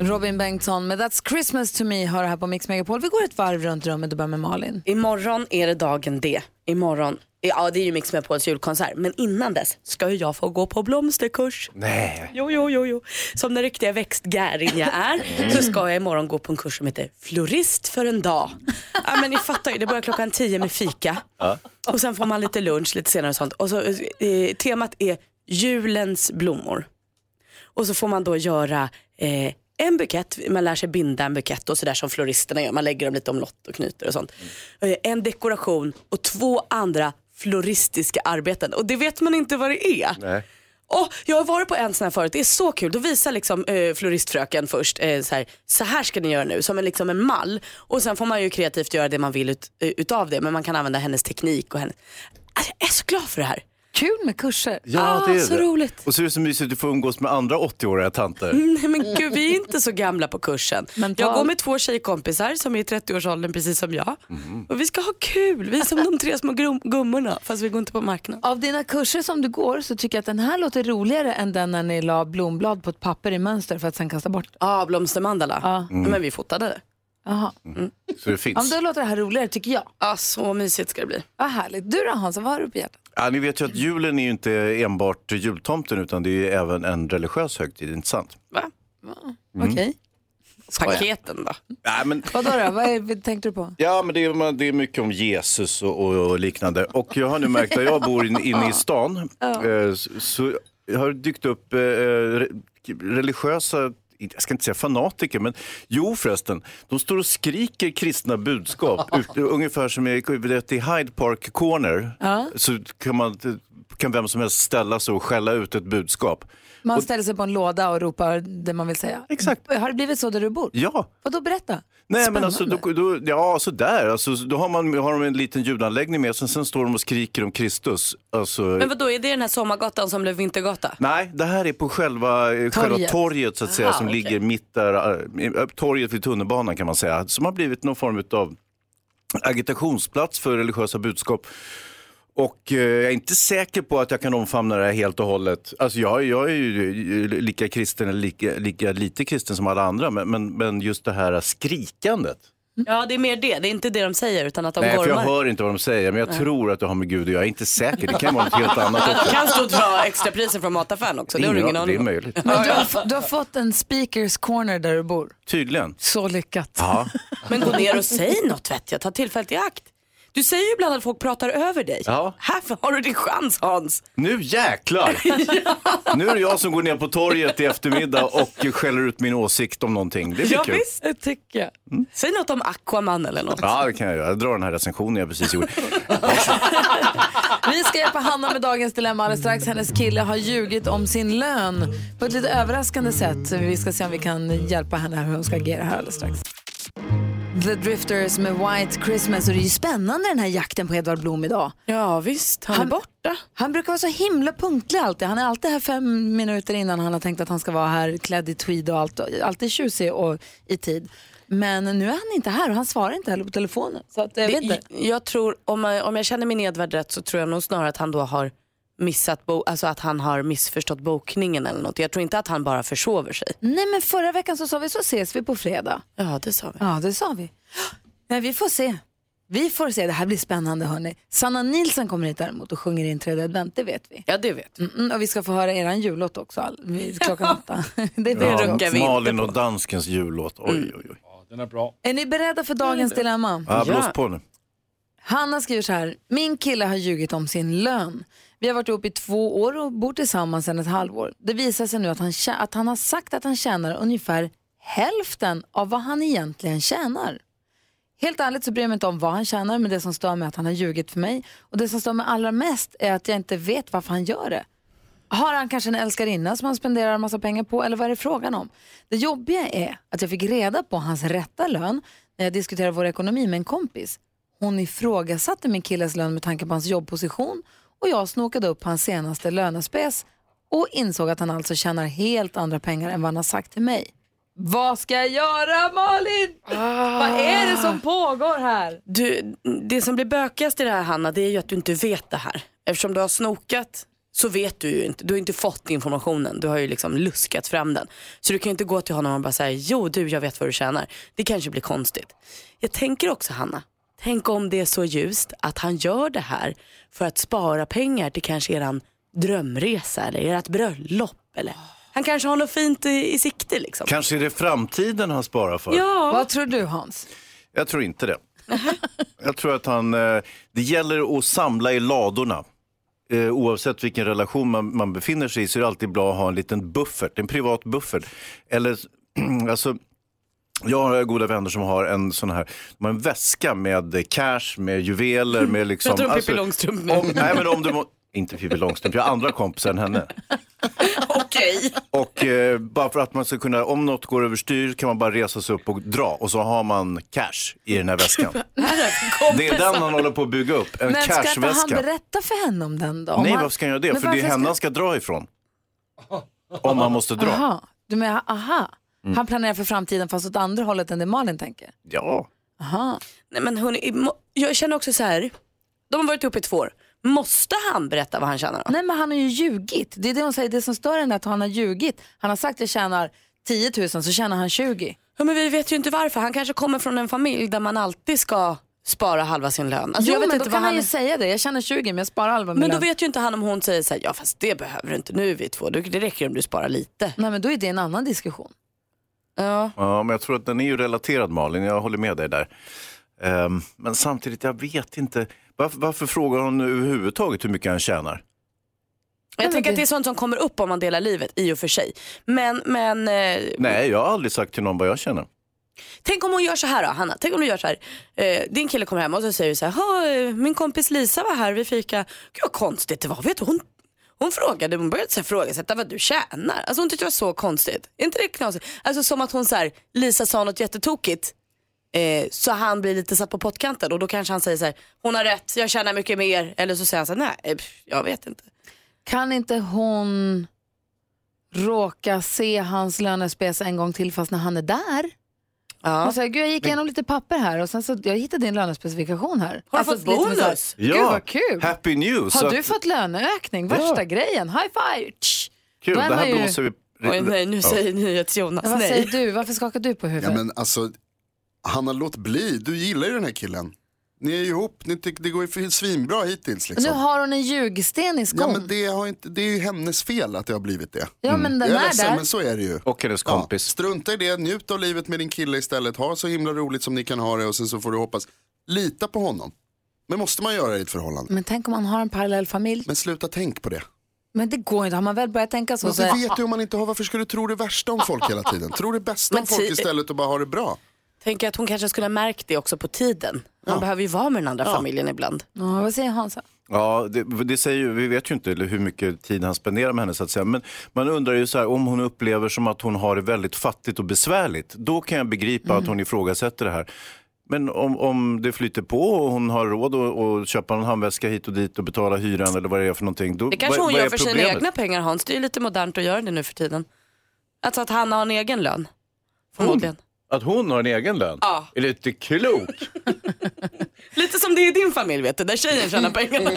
S1: Robin Bengtsson med That's Christmas to me har det här på Mix Megapol. Vi går ett varv runt rummet och börjar med Malin.
S2: Imorgon är det dagen D. Imorgon, ja det är ju Mix Megapols julkonsert, men innan dess ska ju jag få gå på blomsterkurs.
S3: Nej.
S2: Jo, jo, jo, jo. Som den riktiga växtgäring jag är så ska jag imorgon gå på en kurs som heter Florist för en dag. Ja, men ni fattar ju, det börjar klockan 10 med fika
S5: Ja.
S2: och sen får man lite lunch lite senare och sånt. Och så, eh, temat är julens blommor. Och så får man då göra eh, en bukett, man lär sig binda en bukett och sådär som floristerna gör. Man lägger dem lite omlott och knyter och sånt. Eh, en dekoration och två andra floristiska arbeten. Och det vet man inte vad det är.
S3: Nej.
S2: Åh, jag har varit på en sån här förut, det är så kul. Då visar liksom, eh, floristfröken först, eh, så, här, så här ska ni göra nu, som en, liksom en mall. Och sen får man ju kreativt göra det man vill ut, eh, utav det, men man kan använda hennes teknik. Och hennes... Alltså, jag är så glad för det här. (laughs)
S1: Kul med kurser.
S2: ah, så roligt.
S3: Och så är det så mysigt att du får umgås med andra 80-åriga tanter.
S1: Mm.
S2: Nej men gud, vi är inte så gamla på kursen. Jag går med två tjejkompisar som är i 30-årsåldern precis som jag. Och vi ska ha kul, vi är som de tre små grum- gummorna fast vi går inte på marknaden.
S1: Av dina kurser som du går så tycker jag att den här låter roligare än den när ni la blomblad på ett papper i mönster för att sen kasta bort.
S2: Ja, ah, blomstermandala.
S1: Ja.
S3: Mm.
S2: Men vi fotade det.
S1: Jaha.
S3: Så det
S1: Ja, men
S3: finns.
S1: då låter det här roligare tycker jag.
S2: Ah, så mysigt ska det bli.
S1: Vad härligt. Du då Hans, vad har du på hjärtat?
S3: Ja, ni vet ju att julen är ju inte enbart jultomten utan det är ju även en religiös högtid, inte sant?
S2: Va?
S3: Mm.
S1: Okej.
S3: Skoja.
S2: Paketen då?
S3: Ja, men,
S1: Vadå då? Vad är, tänkte du på?
S3: ja, men det, är, man- det är mycket om Jesus och, och, och liknande. Och jag har nu märkt att jag bor in, inne i stan
S1: Ja.
S3: eh, så, så har det dykt upp eh, re, religiösa jag ska inte säga fanatiker, men jo förresten, de står och skriker kristna budskap, ut, ungefär som i, i Hyde Park Corner,
S1: Ja.
S3: så kan, man, kan vem som helst ställa sig och skälla ut ett budskap.
S1: Man ställer sig på en låda och ropar det man vill säga. Exakt. Har det blivit så där du bor?
S3: Ja,
S1: Vadå berätta?
S3: Nej, men alltså, då, då, ja, så där. Alltså, då har, man, har de en liten ljudanläggning med sig, sen står de och skriker om Kristus. Alltså,
S2: Men vadå, är det den här sommargatan som blev vintergata?
S3: Nej, det här är på själva torget, själva torget så att säga,
S2: Aha,
S3: som
S2: okej.
S3: ligger mitt där, äh, torget vid tunnelbanan kan man säga, som har blivit någon form av agitationsplats för religiösa budskap. Och eh, jag är inte säker på att jag kan omfamna det här helt och hållet. Alltså jag, jag är ju eh, lika kristen, eller lika, lika lite kristen som alla andra, men, men, men just det här skrikandet.
S2: Ja, det är mer det. Det är inte det de säger utan att de
S3: Nej, för jag
S2: gormar.
S3: hör inte vad de säger, men jag
S2: Nej.
S3: tror att det har med Gud att göra. Jag är inte säker, det kan vara något
S2: (laughs)
S3: helt annat
S2: Det
S3: också.
S2: kan stå att vara extrapriser från mataffären också. Det har du ingen
S3: det
S2: aning
S3: är
S2: om.
S3: möjligt.
S1: Men du, har, f- du har fått en speakers corner där du bor.
S3: Tydligen.
S1: Så lyckat.
S3: Ja.
S2: Men gå ner och säg något vet jag. Ta tillfället i akt. Du säger ju ibland att folk pratar över dig.
S3: Ja.
S2: Här har du din chans Hans.
S3: Nu
S2: (laughs)
S3: jäklar! Nu är det jag som går ner på torget i eftermiddag och skäller ut min åsikt om någonting. Det blir
S2: ja,
S3: kul. Mm.
S2: visst, det tycker jag. Säg något om Aquaman eller något.
S3: Ja, det kan jag göra. Jag drar den här recensionen jag
S2: (laughs)
S3: precis gjorde.
S1: Vi ska hjälpa Hanna med dagens dilemma alldeles strax. Hennes kille har ljugit om sin lön på ett lite överraskande sätt. Vi ska se om vi kan hjälpa henne här hur hon ska agera här alldeles strax. The Drifters med White Christmas och det är ju spännande den här jakten på Edvard Blom idag.
S2: Ja visst, han, är borta.
S1: Han brukar vara så himla punktlig alltid. Han är alltid här fem minuter innan han har tänkt att han ska vara här klädd i tweed och allt, alltid tjusig och i tid. Men nu är han inte här och han svarar inte heller på telefonen. Så att, jag vet inte.
S2: Jag tror, om jag, om jag känner min Edvard rätt så tror jag nog snarare att han då har missat bo, alltså att han har missförstått bokningen eller något. Jag tror inte att han bara försover sig.
S1: Nej men förra veckan så sa vi så ses vi på fredag.
S2: Ja det sa vi.
S1: Ja det sa vi. Nej vi får se. Vi får se, det här blir spännande hörni. Sanna Nilsson kommer hit däremot och sjunger in tredje advent, det vet vi.
S2: Ja, det vet
S1: Mm, och vi ska få höra eran jullåt också all, vid klockan åtta. (laughs) det blir
S3: Ja,
S1: rockar vi inte
S3: Malin
S1: på.
S3: och danskens jullåt.
S2: Mm.
S3: Oj, oj, oj.
S4: Den är bra.
S1: Är ni beredda för dagens dilemma?
S3: Ja, blås på nu.
S1: Hanna skriver så här, min kille har ljugit om sin lön. Vi har varit ihop i två år och bor tillsammans sedan ett halvår. Det visar sig nu att han, tjä- att han har sagt att han tjänar ungefär hälften av vad han egentligen tjänar. Helt ärligt så bryr jag mig inte om vad han tjänar, men det som stör mig är att han har ljugit för mig. Och det som stör mig allra mest är att jag inte vet varför han gör det. Har han kanske en älskarinna som han spenderar en massa pengar på eller vad är det frågan om? Det jobbiga är att jag fick reda på hans rätta lön när jag diskuterade vår ekonomi med en kompis. Hon ifrågasatte min killes lön med tanke på hans jobbposition och jag snokade upp hans senaste lönespes och insåg att han alltså tjänar helt andra pengar än vad han har sagt till mig. Vad ska jag göra Malin? Vad är det som pågår här?
S2: Du, det som blir bökigast i det här Hanna, det är ju att du inte vet det här. Eftersom du har snokat så vet du ju inte, du har ju inte fått informationen, du har ju liksom luskat fram den. Så du kan ju inte gå till honom och bara säga, jo du jag vet vad du tjänar. Det kanske blir konstigt. Jag tänker också Hanna, tänk om det är så ljust att han gör det här för att spara pengar till kanske eran drömresa eller ert bröllop. Eller. Han kanske har något fint i, i sikte liksom.
S3: Kanske är det framtiden han sparar för.
S1: Vad tror du Hans?
S3: Jag tror inte det. Jag tror att han, eh, det gäller att samla i ladorna. Eh, Oavsett vilken relation man, man befinner sig i så är det alltid bra att ha en liten buffert, en privat buffert. Eller, (clears throat) alltså, jag har goda vänner som har en sån här, de har en väska med cash, med juveler, med liksom...
S2: Pratar du om Pippi Långstrump nu?
S3: Om, nej men om du må, inte Pippi Långstrump, jag har andra kompisar än henne.
S2: Okej.
S3: Och eh, bara för att man ska kunna, om något går överstyr kan man bara resa sig upp och dra och så har man cash i den
S1: (laughs)
S3: här väskan. Det är den han håller på att bygga upp, en
S1: Men ska inte han
S3: cashväska.
S1: berätta för henne om den då? Om
S3: Nej,
S1: han-
S3: varför ska han göra det?
S1: Men
S3: För det är
S1: varför
S3: henne han ska dra ifrån. Om han måste dra.
S1: Aha. Du menar, aha.
S3: Mm.
S1: Han planerar för framtiden fast åt andra hållet än det Malin tänker.
S3: Ja.
S1: Aha.
S2: Nej, men hörni, i må- jag känner också så här. De har varit ihop i två år. Måste han berätta vad han tjänar? då?
S1: Nej men han har ju ljugit. Det är det hon säger, det som stör henne är att han har ljugit. Han har sagt jag tjänar 10 000 så tjänar han 20.
S2: Ja, men vi vet ju inte varför. Han kanske kommer från en familj där man alltid ska spara halva sin lön. Alltså,
S1: jo
S2: jag vet
S1: men
S2: inte
S1: då
S2: vad
S1: kan han ju säga det, jag tjänar 20 men jag sparar halva min
S2: Men då
S1: lön.
S2: vet ju inte han om hon säger så här, ja fast det behöver du inte, nu är vi två, Du- det räcker om du sparar lite.
S1: Nej men då är det en annan diskussion.
S2: Ja.
S3: Ja, men jag tror att den är ju relaterad Malin, jag håller med dig där. Ehm, men samtidigt, jag vet inte. Varför, varför frågar hon överhuvudtaget hur mycket han tjänar?
S2: Jag tänker att det är sånt som kommer upp om man delar livet i och för sig. Men, men eh,
S3: Nej, jag har aldrig sagt till någon vad jag tjänar.
S2: Tänk om hon gör så här då, Hanna. Tänk om du gör så här. Eh, din kille kommer hem och så säger du så här. "Ha, eh, Min kompis Lisa var här vid fika. Gud vad konstigt det var. Vet du, hon, hon frågade, hon började så här frågasätta vad du tjänar. Alltså hon tyckte det var så konstigt. Är inte det knasigt? Alltså som att hon så här, Lisa sa något jättetokigt. Eh, så han blir lite satt på pottkanten och då kanske han säger så här. Hon har rätt, jag tjänar mycket mer. Eller så säger han så här, nej, pff, jag vet inte.
S1: Kan inte hon råka se hans lönespes en gång till fast när han är där?
S2: Ja.
S1: Hon säger, gud jag gick igenom lite papper här och sen så jag hittade din lönespecifikation här. Alltså, Har
S2: du fått bonus?
S1: Gud vad kul.
S3: Happy news!
S1: Har
S3: Så
S1: du
S3: att-
S1: fått löneökning? Värsta grejen. High five! Tsch.
S3: Kul,
S1: Då är
S3: det här
S1: man ju-
S3: blåser vi...
S2: Oj, nej, nu
S1: Ja.
S2: säger NyhetsJonas
S1: Vad
S2: nej.
S1: säger du? Varför skakar du på
S14: Ja
S1: huvudet?
S14: men alltså, Hanna låt bli. Du gillar ju den här killen. Ni är ihop, ni tycker det går ju svinbra hittills liksom.
S1: Nu har hon en ljugsten i skon.
S14: Ja men det, har inte, det är ju hennes fel att det har blivit det.
S1: Ja, men den
S14: jag
S1: är
S14: ledsen,
S1: där.
S14: men så är det ju.
S3: Och hennes kompis.
S14: strunta i det, njut av livet med din kille istället. Ha så himla roligt som ni kan ha det och sen så får du hoppas. Lita på honom. Men måste man göra i ett förhållande?
S1: Men tänk om man har en parallell familj.
S14: Men sluta tänk på det.
S1: Men det går inte. Har man väl börjat tänka så
S14: Men
S1: så
S14: det vet du om man inte har, varför ska du tro det värsta om folk hela tiden? Tro det bästa om
S2: Men
S14: folk
S2: ti-
S14: istället och bara ha det bra.
S2: Tänker att hon kanske skulle ha märkt det också på tiden. Man behöver ju vara med den andra familjen ibland.
S1: Ja, vad säger Hansa?
S3: Ja, det, det säger, ju- vi vet ju inte hur mycket tid han spenderar med henne. Så att säga. Men man undrar ju så här, om hon upplever som att hon har det väldigt fattigt och besvärligt. Då kan jag begripa att hon ifrågasätter det här. Men om, om det flyter på och hon har råd att att köpa en handväska hit och dit och betala hyran eller vad det är för någonting. Då,
S2: Det kanske
S3: vad,
S2: hon
S3: vad
S2: gör
S3: är
S2: för
S3: problemet?
S2: sina egna pengar Hans. Det är ju lite modernt att göra det nu för tiden. Alltså att han har en egen lön. Förmodligen.
S3: Att hon har en egen lön?
S2: Ja.
S3: Är det inte klokt?
S2: Lite som det är i din familj vet du, där tjejen tjänar pengarna.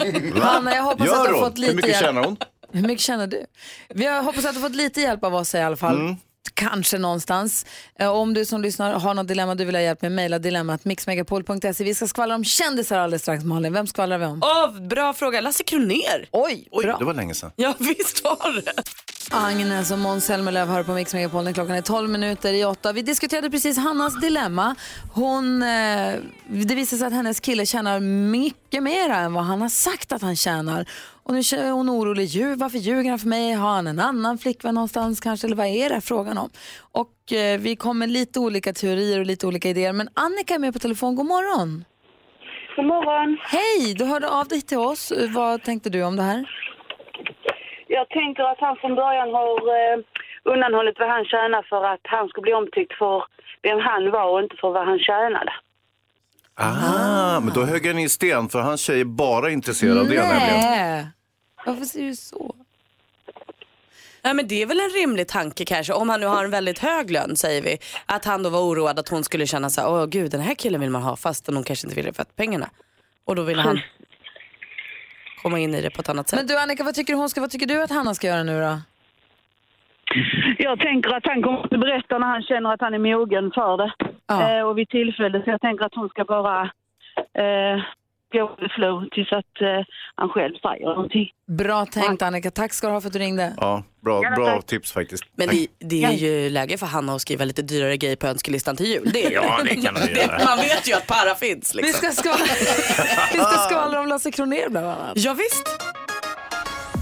S1: Hanna, jag hoppas
S3: Gör
S1: att du har
S3: hon?
S1: fått lite
S3: Hur mycket
S1: hjälp.
S3: tjänar hon?
S14: Mm.
S1: Hur mycket tjänar du? Vi har- hoppas att du har fått lite hjälp av oss i alla fall. kanske någonstans. Eh, Om du som lyssnar har något dilemma du vill ha hjälp med, mejla dilemmat mixmegapol.se. Vi ska skvallra om kändisar alldeles strax, Malin. Vem skvallrar vi om?
S2: (laughs) Åh, bra fråga. Lasse Kronér.
S1: Oj,
S3: Oj,
S1: bra.
S3: det var länge sedan.
S2: Ja, (laughs) visst var det.
S1: Agnes och Måns Zelmerlöw hör på Mix Megapolen. Klockan är 12 minuter i 8. Vi diskuterade precis Hannas dilemma. Hon, eh, det visar sig att hennes kille tjänar mycket mer än vad han har sagt att han tjänar. Och nu är hon orolig. Ljug, varför ljuger han för mig? Har han en annan flickvän någonstans kanske? Eller vad är det här frågan om? Och eh, vi kommer lite olika teorier och lite olika idéer. Men Annika är med på telefon. God morgon!
S18: God morgon!
S1: Hej! Du hörde av dig till oss. Vad tänkte du om det här?
S18: Jag tänker att han från början har eh, undanhållit vad han tjänar för att han skulle bli omtyckt för vem han var och inte för vad han tjänade.
S3: Ah, men då högg han i sten för hans tjej är bara intresserad av det nämligen.
S1: Nej. Varför säger du så?
S2: Ja, men det är väl en rimlig tanke kanske, om han nu har en väldigt hög lön säger vi. Att han då var oroad att hon skulle känna så här, åh gud den här killen vill man ha fast hon kanske inte ville för att pengarna. Och då ville han komma in i det på ett annat sätt.
S1: Men du Annika, vad tycker, hon ska, vad tycker du att Hanna ska göra nu då?
S18: Jag tänker att han kommer att berätta när han känner att han är mogen för det. Eh, och vid tillfälle. Så jag tänker att hon ska bara eh, gå with the flow tills att eh, han själv säger någonting.
S1: Bra tänkt Annika, tack ska du ha för att du ringde.
S3: Ja, bra, bra tips faktiskt.
S2: Men det, det är ju läge för Hanna att skriva lite dyrare grejer på önskelistan till jul. Det är,
S3: Ja, det kan hon göra.
S2: Man vet ju att para finns. Liksom.
S1: Vi ska skvallra, vi ska skvallra om Lasse Kronér bland annat.
S2: Ja, visst.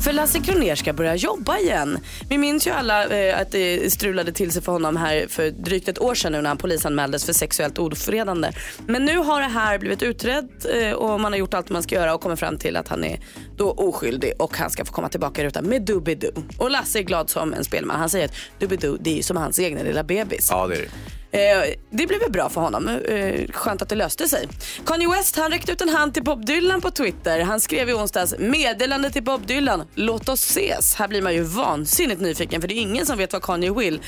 S2: För Lasse Kronér ska börja jobba igen. Vi minns ju alla eh, att det strulade till sig för honom här för drygt ett år sedan nu när han polisanmäldes för sexuellt ofredande. Men nu har det här blivit utrett eh, och man har gjort allt man ska göra och kommit fram till att han är då oskyldig och han ska få komma tillbaka i rutan med Doobidoo. Och Lasse är glad som en spelman. Han säger att Doobidoo det är ju som hans egna lilla bebis.
S3: (laughs) Ja, det är det.
S2: Eh, det blev väl bra för honom. Eh, skönt att det löste sig. Kanye West han räckte ut en hand till Bob Dylan på Twitter. Han skrev i onsdags meddelande till Bob Dylan. Låt oss ses. Här blir man ju vansinnigt nyfiken för det är ingen som vet vad Kanye vill.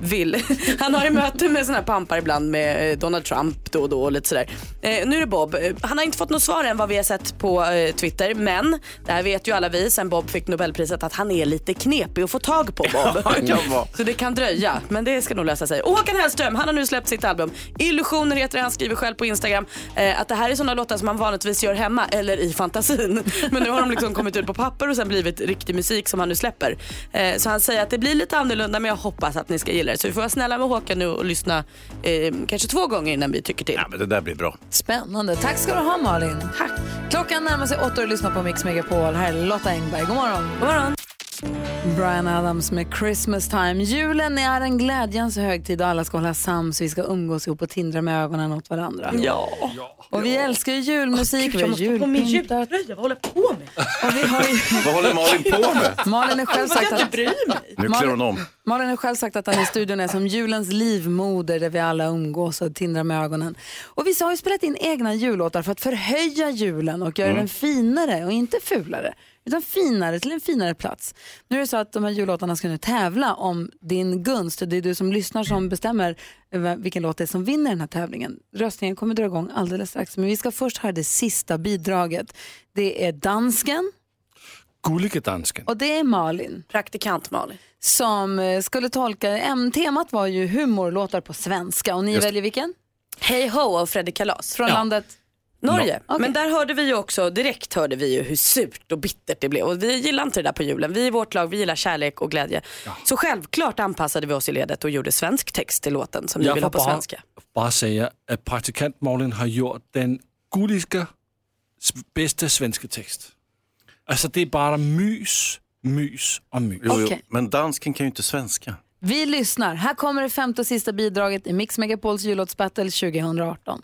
S2: Vill. (laughs) Han har ju möten med såna här pampar ibland med eh, Donald Trump då och då och lite sådär. Eh, nu är det Bob. Eh, Han har inte fått något svar än vad vi har sett på eh, Twitter men det här vet ju alla vi sen Bob fick Nobelpriset att han är lite knepig att få tag på Bob.
S3: (laughs) Ja, det kan vara.
S2: Så det kan dröja, men det ska nog lösa sig. Och Håkan Hellström, han har nu släppt sitt album. Illusioner heter det, han skriver själv på Instagram eh, att det här är sådana låtar som man vanligtvis gör hemma eller i fantasin. (laughs) Men nu har de liksom kommit ut på papper och sen blivit riktig musik som han nu släpper. Eh, så han säger att det blir lite annorlunda men jag hoppas att ni ska gilla det. Så vi får vara snälla med Håkan nu och lyssna eh, kanske två gånger innan vi tycker till.
S3: Ja, men det där blir bra.
S1: Spännande. Tack ska du ha Malin. Tack. Klockan närmar sig åtta och du lyssnar på Mix Megapol. Här är Lotta Engberg. God morgon.
S2: God morgon.
S1: Brian Adams med Christmas time. Julen är en glädjens högtid och alla ska hålla sams. Vi ska umgås ihop och tindra med ögonen åt varandra.
S2: Ja.
S1: Och vi älskar ju julmusik. vi har
S2: på min
S1: julpynt. (laughs)
S2: jultröja, vad håller jag på med?
S3: (laughs) Vad håller Malin
S1: (laughs)
S3: på med?
S1: Malin har själv sagt att...
S3: Nu klär hon om.
S1: Malin har själv sagt att han i studion är som julens livmoder där vi alla umgås och tindrar med ögonen. Och vissa har ju spelat in egna jullåtar för att förhöja julen och göra
S7: Mm.
S1: den finare och inte fulare. Utan finare till en finare plats. Nu är det så att de här jullåtarna ska nu tävla om din gunst. Det är du som lyssnar som bestämmer eh, vilken låt det är som vinner den här tävlingen. Röstningen kommer dra igång alldeles strax. Men vi ska först höra det sista bidraget. Det är dansken.
S4: Gullige dansken.
S1: Och det är Malin.
S2: Praktikant Malin.
S1: Som eh, skulle tolka, äm, temat var ju humorlåtar på svenska och ni
S2: Just det.
S1: väljer vilken?
S2: Hej ho av Fredrik Kalas.
S1: Från
S2: Ja.
S1: landet?
S2: Norge. Men där hörde vi ju också, direkt hörde vi ju hur surt och bittert det blev. Och vi gillar inte det där på julen. Vi i vårt lag, vi gillar kärlek och glädje. Så självklart anpassade vi oss i ledet och gjorde svensk text till låten som vi
S4: Jag
S2: vill ha på
S4: får bara,
S2: svenska.
S4: bara säga att praktikant Malin har gjort den gulliga s- bästa svenska text. Alltså det är bara mys, mys och mys.
S1: Jo, jo, Okej.
S3: Men dansken kan ju inte svenska.
S1: Vi lyssnar. Här kommer det femte och sista bidraget i Mix Megapols jullåtsbattle 2018.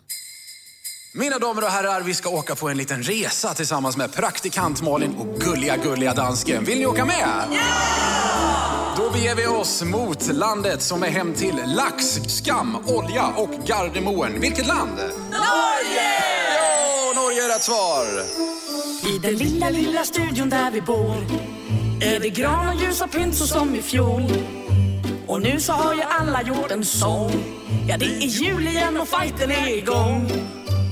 S19: Mina damer och herrar, vi ska åka på en liten resa tillsammans med praktikant Malin och gulliga, gulliga dansken. Vill ni åka med? Då beger vi oss mot landet som är hem till lax, skam, olja och Gardermoen. Vilket land?
S5: Norge!
S19: Ja, Norge är rätt svar!
S5: I den lilla, lilla studion där vi bor är det gran och ljus och pynt så som i fjol. Och nu så har ju alla gjort en sång. Ja, det är jul igen och fighten är igång.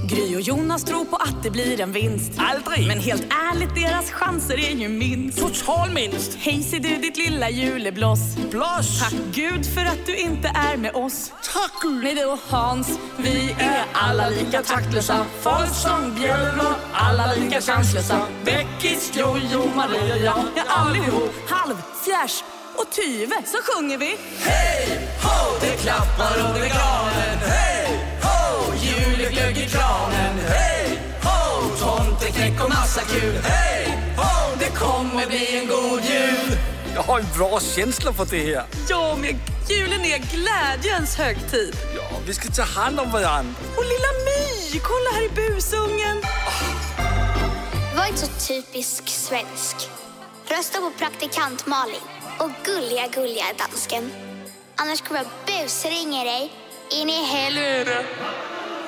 S13: Gry och Jonas tror på att det blir en vinst. Aldrig! Men helt ärligt, deras chanser är ju minst. Total minst! Hej ser du ditt lilla julebloss. Bloss! Tack Gud för att du inte är med oss. Tack Gud! Med du och Hans, vi är alla lika taktlösa. Folk som björnar, alla lika chanslösa. Beckis, Jojo, Maria, ja allihop. Halv, fjärs och tyve så sjunger vi. Hej, ho! Det klappar under granen. Hej, ho! Juleglögg i kranen. Hej, ho! Tomteknäck och massa kul. Hej, ho! Det kommer bli en god jul.
S20: Jag har en bra känsla för det här.
S13: Ja, men julen är glädjens högtid.
S20: Ja, vi ska ta hand om varandra.
S13: Och lilla My, kolla här i busungen.
S11: Var inte så typisk svensk. Rösta på praktikant Malin och gulliga, gulliga dansken. Annars kommer jag busringa dig in i helvete.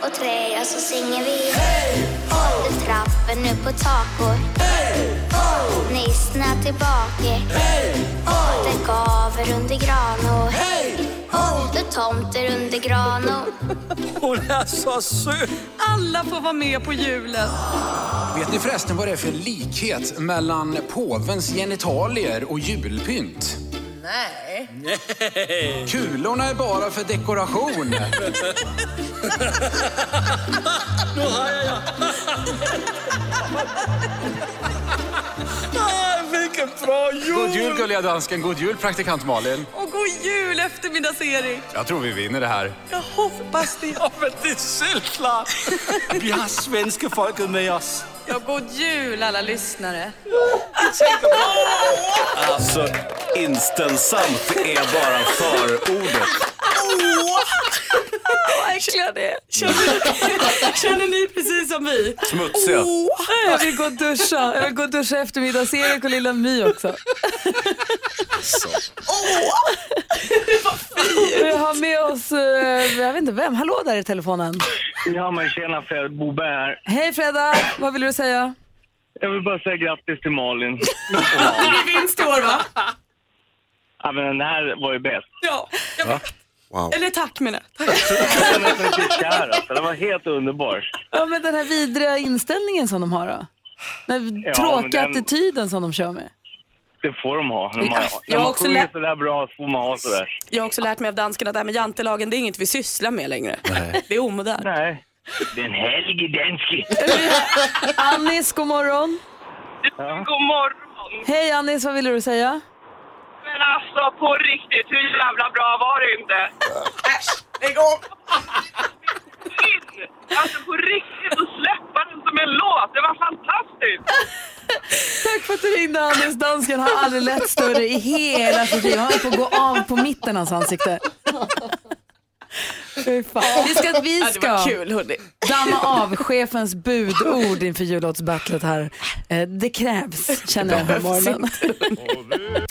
S11: Och tröja så singer vi. Hey, ho! Trappen upp på takor. Hey, ho! Nissna tillbaka. Hey, ho! Det gaver under gran och hey, ho! Det tomter under gran och
S13: Hon är så söt. Alla får vara med på julen.
S19: Vet ni förresten vad det är för likhet mellan påvens genitalier och julpynt?
S13: Nej.
S19: Kulorna är bara för dekoration.
S13: Nu har
S20: (laughs)
S13: jag ja.
S20: Ah, Vilken bra jul!
S19: God jul gulliga dansken, god jul praktikant Malin.
S13: Och god jul eftermiddags-Erik.
S19: Jag tror vi vinner det här.
S13: Jag hoppas det.
S20: Ja, men det är självklart. Vi har svenska folket med oss.
S13: Ja, god jul alla lyssnare.
S3: Alltså, inställsamt är bara förordet.
S13: Åh, vad äckliga det är. Känner, känner ni precis som vi?
S3: Smutsiga.
S1: Ah, Jag vill gå och duscha. Jag vill gå och duscha eftermiddags-Erik och lilla My också.
S2: Alltså.
S1: Vi har med oss, eh, jag vet inte vem, hallå där i telefonen.
S21: Ja men tjena Fred, Bobbe här.
S1: Hej Freda, vad vill du säga?
S21: Jag vill bara säga grattis till Malin.
S13: Det blir vinst i år va?
S21: ja, men den här var ju bäst.
S13: Ja.
S21: Va? Wow.
S13: Eller tack menar jag.
S21: Jag blev nästan lite kär alltså. Det var helt underbart.
S1: Ja, men den här vidriga inställningen som de har då? Den
S21: Ja,
S1: tråkiga
S21: men den-
S1: attityden som de kör med.
S21: Det får de ha. När man,
S13: Ja, jag
S21: när
S13: har
S21: man
S13: också
S21: sjunger
S13: lärt-
S21: sådär bra så får man ha sådär.
S13: Jag har också lärt mig av danskarna att det här med jantelagen, det är inget vi sysslar med längre.
S21: Nej.
S13: Det är omodernt.
S21: Nej. Den helge danske.
S13: (laughs)
S1: Annis, god morgon.
S22: God morgon.
S1: Hej Annis, vad ville du säga?
S22: Men alltså på riktigt, hur jävla bra var det inte? Äsch, lägg av! Alltså på riktigt, att släppa den som en låt, det var fantastiskt!
S1: Tack för att du ringde Annis. Dansken har aldrig lett större i hela sitt liv. Han får gå av på mitten av hans ansikte. Fy fan. Vi ska, vi
S13: Ja, det var
S1: ska
S13: kul, hörni.
S1: damma av chefens budord inför jullåtsbattlet här. Eh, Det krävs, känner jag den här morgonen.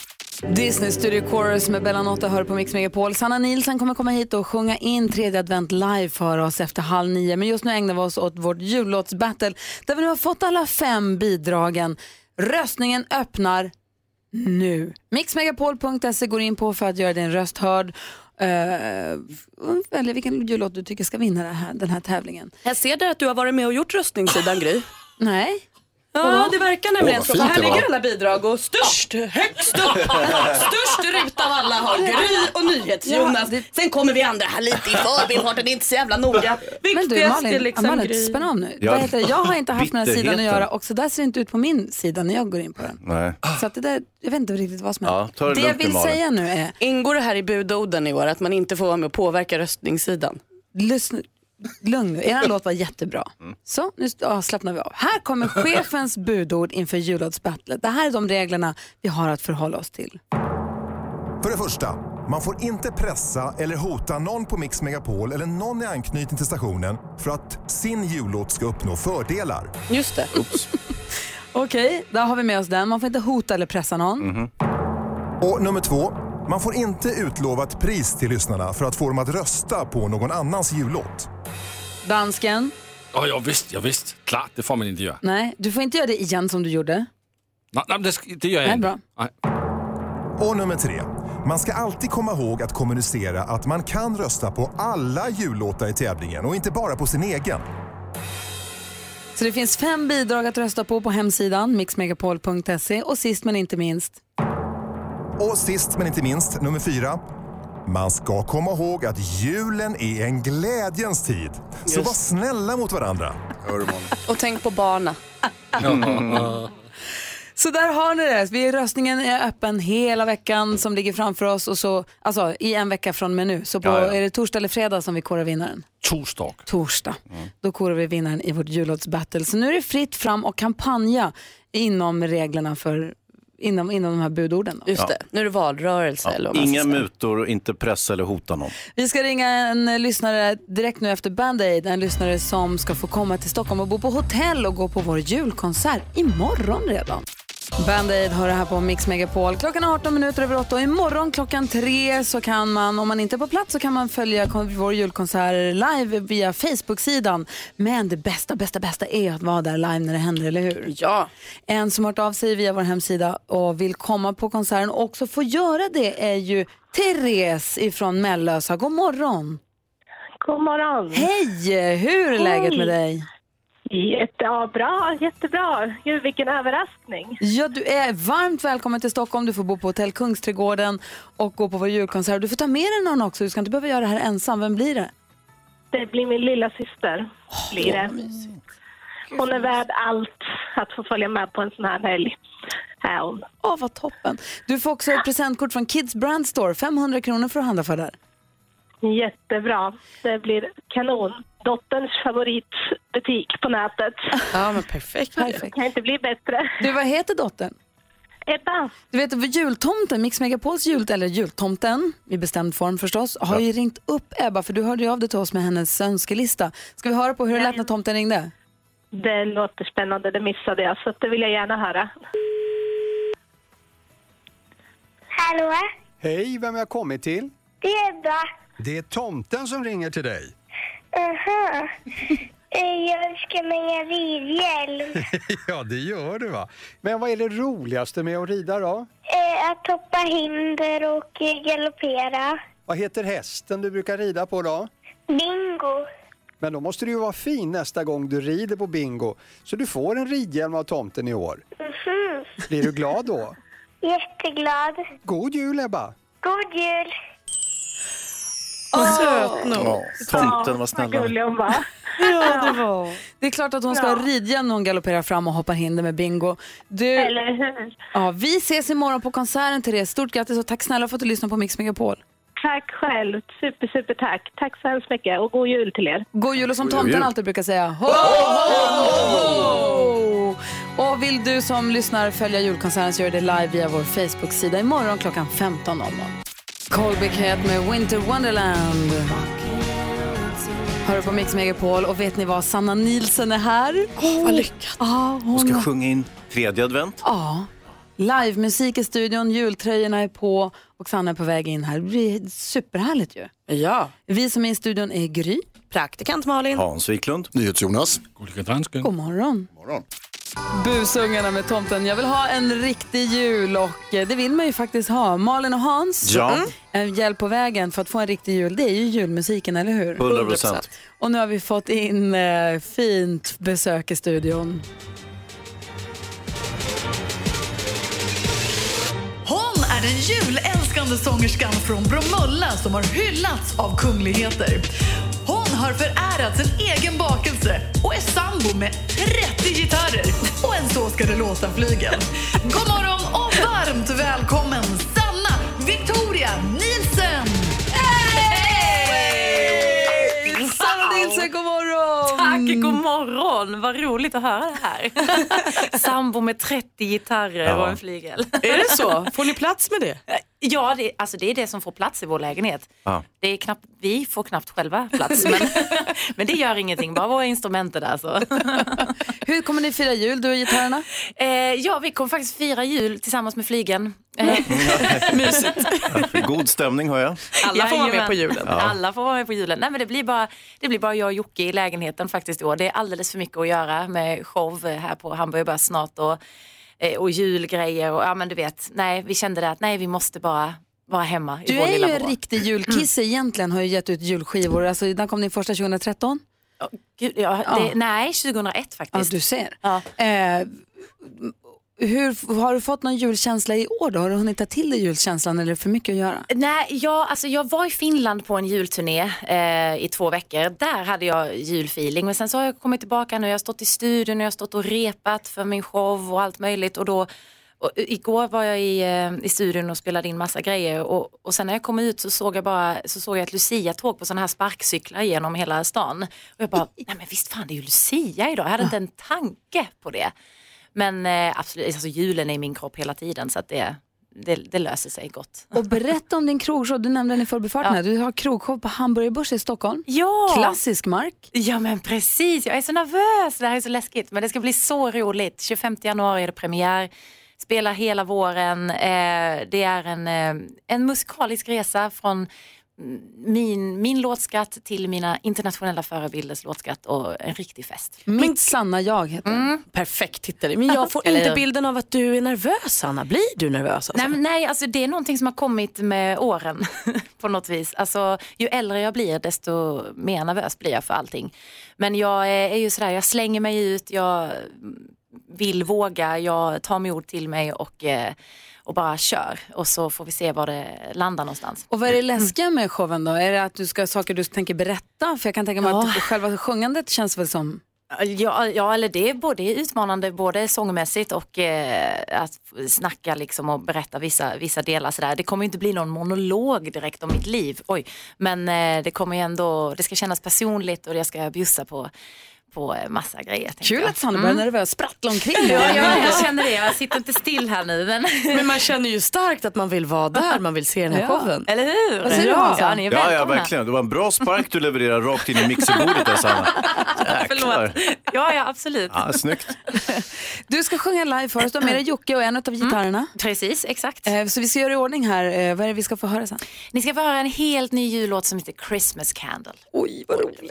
S1: Disney Studio Chorus med Bellanotta hör på Mix Megapol. Sanna Nilsson kommer komma hit och sjunga in tredje advent live för oss efter halv nio. Men just nu ägnar vi oss åt vårt jullåtsbattle där vi nu har fått alla fem bidragen. Röstningen öppnar nu. Mixmegapol.se går in på för att göra din röst hörd. Uh, välj vilken jullåt du tycker ska vinna det här, den här tävlingen.
S2: Jag ser där att du har varit med och gjort röstningssidan Gry.
S1: Nej.
S2: Ja,
S1: Vadå?
S2: det verkar
S1: Åh,
S2: nämligen
S1: vad
S2: så.
S1: fint
S2: Här
S1: det var.
S2: ligger alla bidrag och störst, högst upp, störst ruta av alla har Gry och NyhetsJonas. Sen kommer vi andra här lite i förbifarten, det är inte så jävla noga.
S1: Men du
S2: Viktigast är
S1: Malin,
S2: liksom Gry.
S1: Malin spänn av nu.
S3: Ja.
S1: Vad heter det? Jag har inte haft med den här sidan att
S3: Bitterheten.
S1: göra och så där ser det inte ut på min sida när jag går in på den.
S3: Nej.
S1: Så att det där, jag vet inte riktigt vad som
S3: Ja, ta det,
S1: Det
S3: lugnt
S1: jag vill
S3: nu, Malin.
S1: säga nu är,
S2: Ingår det här i budorden i år att man inte får vara med och påverka röstningssidan?
S1: lyssna, lugn nu,
S3: (laughs)
S1: er låt var jättebra.
S3: Mm.
S1: Så, nu ja, slappnar vi av. Här kommer chefens budord inför jullåtsbattlet. Det här är de reglerna vi har att förhålla oss till.
S8: För det första, man får inte pressa eller hota någon på Mix Megapol eller någon i anknytning till stationen för att sin jullåt ska uppnå fördelar.
S2: Just det.
S1: Okej, där har vi med oss den. Man får inte hota eller pressa någon.
S3: Mhm.
S8: Och nummer två, man får inte utlova ett pris till lyssnarna för att få dem att rösta på någon annans jullåt.
S1: Dansken,
S4: Åh, ja, visst, ja, visst. Klart, det får man inte göra.
S1: nej, du får inte göra det igen som du gjorde.
S4: Nej, nej, men det, sk- det gör jag
S1: Nej,
S4: inte.
S1: bra.
S4: Nej.
S8: Och nummer tre, man ska alltid komma ihåg att kommunicera att man kan rösta på alla jullåtar i tävlingen och inte bara på sin egen.
S1: Så det finns fem bidrag att rösta på på hemsidan mixmegapol.se och sist men inte minst
S8: Och sist men inte minst, nummer fyra. Man ska komma ihåg att julen är en glädjens tid. Så
S2: Just.
S8: var snälla mot varandra.
S2: Och tänk på barna.
S1: Så där har ni det. Vi, röstningen är öppen hela veckan som ligger framför oss. Och så, alltså i en vecka från och med nu. Så på,
S14: Ja, ja.
S1: är det torsdag eller fredag som vi korar vinnaren?
S14: Torsdag.
S1: Torsdag.
S14: Mm.
S1: Då korar vi vinnaren i vårt jullåtsbattle. Så nu är det fritt fram och kampanja inom reglerna för, inom, inom de här budorden. Då.
S2: Just det, nu är det valrörelse. eller vad man ska
S3: Inga
S2: säga.
S3: mutor, och inte pressa eller hota någon.
S1: Vi ska ringa en eh, lyssnare direkt nu efter Band-Aid. En lyssnare som ska få komma till Stockholm och bo på hotell och gå på vår julkonsert imorgon redan. Band-Aid har det här på Mix Megapol. Klockan är 18 minuter över 8 och imorgon klockan 3 så kan man, om man inte är på plats, så kan man följa kon- vår julkonsert live via Facebook-sidan. Men det bästa, bästa, bästa är att vara där live när det händer, eller hur?
S2: Ja.
S1: En som har hört av sig via vår hemsida och vill komma på konserten och också få göra det är ju Therese ifrån Mellösa. God morgon!
S23: God morgon!
S1: Hej! Hur är läget med
S23: Hej.
S1: dig?
S23: Jättebra, jättebra. Gud, vilken överraskning.
S1: Ja, du är varmt välkommen till Stockholm. Du får bo på hotell Kungsträdgården och gå på vår julkonsert. Du får ta med dig någon också. Du ska inte behöva göra det här ensam. Vem blir det?
S23: Det blir min lilla syster. Blir det. Hon är värd allt att få följa med på en sån här helg. Här hon.
S1: Åh, vad toppen. Du får också ett presentkort från Kids Brand Store. 500 kronor för att handla för där.
S23: Jättebra. Det blir kanon. Dotterns favoritbutik på
S1: (laughs)
S23: nätet.
S2: Ja, men perfekt.
S23: Det kan inte bli bättre.
S1: Du, vad heter dottern?
S23: Ebba.
S1: Du vet, över jultomten, Mix Megapols jul, eller jultomten, i bestämd form förstås, har ju ringt upp Ebba, för du hörde ju av dig till oss med hennes önskelista. Ska vi höra på hur det lät när tomten ringde?
S23: Det låter spännande, det missade jag, så att det vill jag gärna höra.
S24: Hallå,
S7: Hej, vem har jag kommit till?
S24: det är Ebba.
S7: Det är tomten som ringer till dig.
S24: Aha. Eh, Jag önskar mig en ridhjälm.
S7: ja, det gör du va? Men vad är det roligaste med att rida då?
S24: Eh, Att hoppa hinder och eh, galoppera.
S7: Vad heter hästen du brukar rida på då?
S24: Bingo.
S7: Men då måste du ju vara fin nästa gång du rider på bingo. Så du får en ridhjälm av tomten i år.
S24: Mhm.
S7: Blir du glad då?
S24: Jätteglad.
S7: God jul Ebba!
S24: God jul.
S1: Åh.
S7: Ja, tomten var snällare.
S23: Vad gullig hon var.
S1: Ja, det var. Det är klart att hon ska
S23: Ja.
S1: ha ridhjälm när hon galopperar fram och hoppar hinder med bingo. Du,
S23: Eller hur?
S1: ja, vi ses imorgon på konserten, Therese. Stort grattis och tack snälla för att du lyssnade på Mix Megapol.
S23: Tack själv. Super, super tack. Tack så hemskt mycket och god jul till er.
S1: God jul och som tomten alltid brukar säga. Ho, ho, ho, ho! Och vill du som lyssnar följa julkonserten så gör det live via vår Facebook-sida imorgon klockan 15.00. Colby Cat med Winter Wonderland. Hör du på Mix Megapol och vet ni vad? Sanna Nielsen är här. Oh, vad lyckat. Ah, hon
S3: Hon ska sjunga in tredje advent.
S1: Ja. Livemusik i studion, jultröjorna är på och Sanna är på väg in här. Det blir superhärligt ju.
S2: Ja.
S1: Vi som är i studion är Gry.
S2: Praktikant Malin.
S3: Hans Wiklund. NyhetsJonas.
S14: Gulliga dansken.
S1: God morgon.
S3: morgon.
S1: Busungarna med tomten. Jag vill ha en riktig jul och eh, det vill man ju faktiskt ha. Malin och Hans,
S3: Ja.
S1: mm, en hjälp på vägen för att få en riktig jul, det är ju julmusiken, eller hur?
S3: 100%.
S1: Och nu har vi fått in eh, fint besök i studion.
S13: Hon är den julälskande sångerskan från Bromölla som har hyllats av kungligheter. Hon har förärats en egen bakelse och är sambo med 30 gitarrer och en Så ska det låta-flygel. God morgon och varmt välkommen Sanna Victoria Nielsen!
S1: Sanna Nilsson, god morgon!
S25: Tack, god morgon. Vad roligt att höra det här. Sambo med 30 gitarrer
S2: Ja.
S25: och en flygel.
S2: Är det så? Får ni plats med det?
S25: Ja, det, alltså det är det som får plats i vår lägenhet.
S2: Ja.
S25: Det är knappt, vi får knappt själva plats, men, men det gör ingenting. Bara våra instrument är där. Så.
S1: Hur kommer ni fira jul, du och gitarrerna?
S25: Eh, ja, vi kommer faktiskt fira jul tillsammans med flygen. Eh,
S3: Mysigt. God stämning hör jag.
S25: Alla får vara med på julen.
S3: Ja.
S25: Alla får vara med på julen. Nej, men det, blir bara, det blir bara jag och Jocke i lägenheten faktiskt i år. Det är alldeles för mycket att göra med show här på Hamburg Börs snart och, eh, och julgrejer. Och, ja, men du vet, nej, vi kände det att nej, vi måste bara vara hemma i
S1: Du
S25: vår
S1: är ju
S25: lilla
S1: en
S25: vrå.
S1: riktig julkisse egentligen, har ju gett ut julskivor. Alltså, när kom din första 2013?
S25: Gud, ja,
S1: Ja.
S25: det, nej, 2001
S1: Ja,
S25: faktiskt.
S1: du ser. Eh, hur, har du fått någon julkänsla i år då? Har du hunnit ta till dig julkänslan eller är det för mycket att göra?
S25: Nej, jag, alltså, jag var i Finland på en julturné eh, i två veckor. Där hade jag julfeeling. Men sen så har jag kommit tillbaka nu. Jag har stått i studion och jag har stått och repat för min show och allt möjligt. Och då, och, eh, igår var jag i, eh, i studion och spelade in massa grejer. Och, och sen när jag kom ut så såg jag, bara, så såg jag ett Lucia-tåg på sådana här sparkcyklar genom hela stan. Och jag bara, nej men visst fan det är ju Lucia idag. Jag hade inte en tanke på det. Men eh, absolut, alltså, julen är i min kropp hela tiden så att det, det, det löser sig gott.
S1: Och berätta om din krogshow, du nämnde den i förbifarten här. Du har krogshow på Hamburgerbörs i Stockholm.
S25: Ja.
S1: Klassisk mark.
S25: Ja men precis, jag är så nervös, det här är så läskigt. Men det ska bli så roligt. 25 januari är det premiär, spelar hela våren. Eh, det är en, eh, en musikalisk resa från mm, min, min låtskatt till mina internationella förebilders låtskatt och en riktig fest.
S1: Mitt Mm. sanna jag heter den.
S2: Perfekt titel.
S25: Men jag får inte
S2: bilden av att du är nervös, Anna. Blir du nervös?
S25: Nej, men nej alltså det är någonting som har kommit med åren (laughs) på något vis. Alltså, ju äldre jag blir desto mer nervös blir jag för allting. Men jag är, är ju sådär, jag slänger mig ut, jag vill våga, jag tar mig ord till mig och, eh, och bara kör. Och så får vi se var det landar någonstans.
S1: Och vad är det läskiga med showen då? Är det att du ska ha saker du tänker berätta? För jag kan tänka mig att själva sjungandet känns väl som...
S25: Ja, ja, eller det är både utmanande både sångmässigt och eh, att snacka liksom och berätta vissa, vissa delar. Sådär. Det kommer ju inte bli någon monolog direkt om mitt liv, Oj. men eh, det kommer ju ändå, det ska kännas personligt och jag ska bjussa på, på eh, massa grejer. tänker
S1: Kul
S25: jag.
S1: att Sanna börjar nervös, sprattla omkring.
S25: Ja, ja, jag känner det. Jag sitter inte still här nu. Men,
S2: (laughs) Men man känner ju starkt att man vill vara där, man vill se den här
S25: (laughs) Ja.
S2: showen.
S25: Eller hur?
S2: Vad säger du, Hansa?
S25: ja, ni är
S3: Ja,
S25: välkomna.
S3: ja, verkligen. Det var en bra spark du levererade rakt in i mixerbordet där, Sanna. Jäklar.
S25: Ja, ja, absolut.
S3: Ja, snyggt.
S1: Du ska sjunga live för oss, du har med dig Jocke och en av gitarrerna.
S25: Eh. Mm.
S1: Eh,
S25: Precis, exakt.
S1: Så vi ska göra i ordning här, Eh, vad är det vi ska få höra sen?
S25: Ni ska få höra en helt ny jullåt som heter Christmas Candle.
S1: Oj, vad roligt.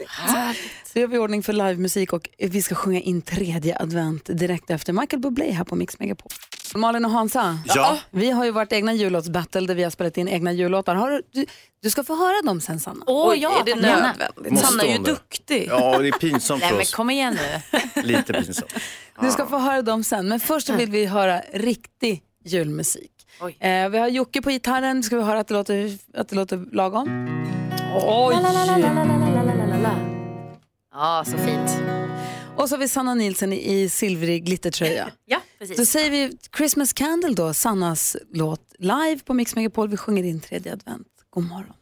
S1: Så gör vi i ordning för livemusik och vi ska sjunga in tredje advent direkt efter Michael Bublé här på Mix Megapol. Malin och Hansa,
S2: Ja.
S1: vi har ju varit egna jullåtsbattle där vi har spelat in egna jullåtar. Har du, du, du ska få höra dem sen Sanna.
S25: Åh, Oj, ja,
S2: är det
S1: tack, gärna.
S2: nödvändigt?
S3: Måste
S2: Sanna är ju
S3: hon det?
S2: duktig.
S3: Ja, det är pinsamt
S25: Nej,
S3: för
S25: men
S3: oss.
S25: kom igen nu.
S3: Lite pinsamt.
S1: Du ska få höra dem sen, men först så vill vi höra riktig julmusik. Eh, vi har Jocke på gitarren, ska vi höra att det låter, att det låter lagom? Oj!
S25: Ja, så fint.
S1: Och så har vi Sanna Nilsson i, i silvrig glittertröja.
S25: Ja, precis.
S1: Då säger vi Christmas Candle då, Sannas låt live på Mix Megapol. Vi sjunger in tredje advent. God morgon.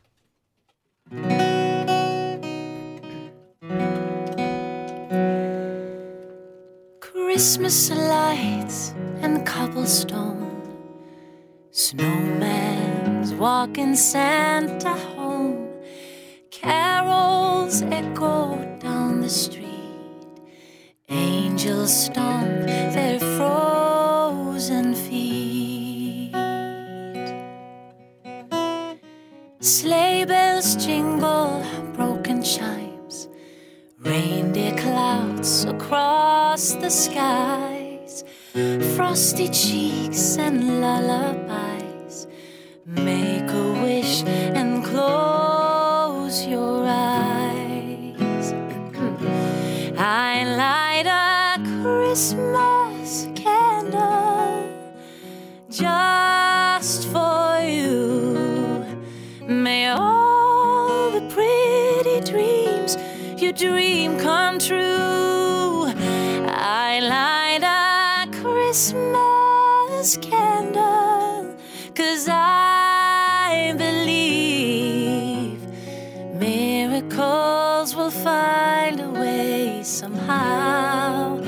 S22: Christmas lights and cobblestone. Snowman's walking Santa home. Carols echo down the street. Angels stomp their frozen feet. Sleigh bells jingle, broken chimes. Reindeer clouds across the skies, frosty cheeks and lullabies. Make a wish and close your eyes. I light a Christmas candle just for you. May all the pretty dreams you dream come true. I light a Christmas candle, cause I believe miracles will find a way somehow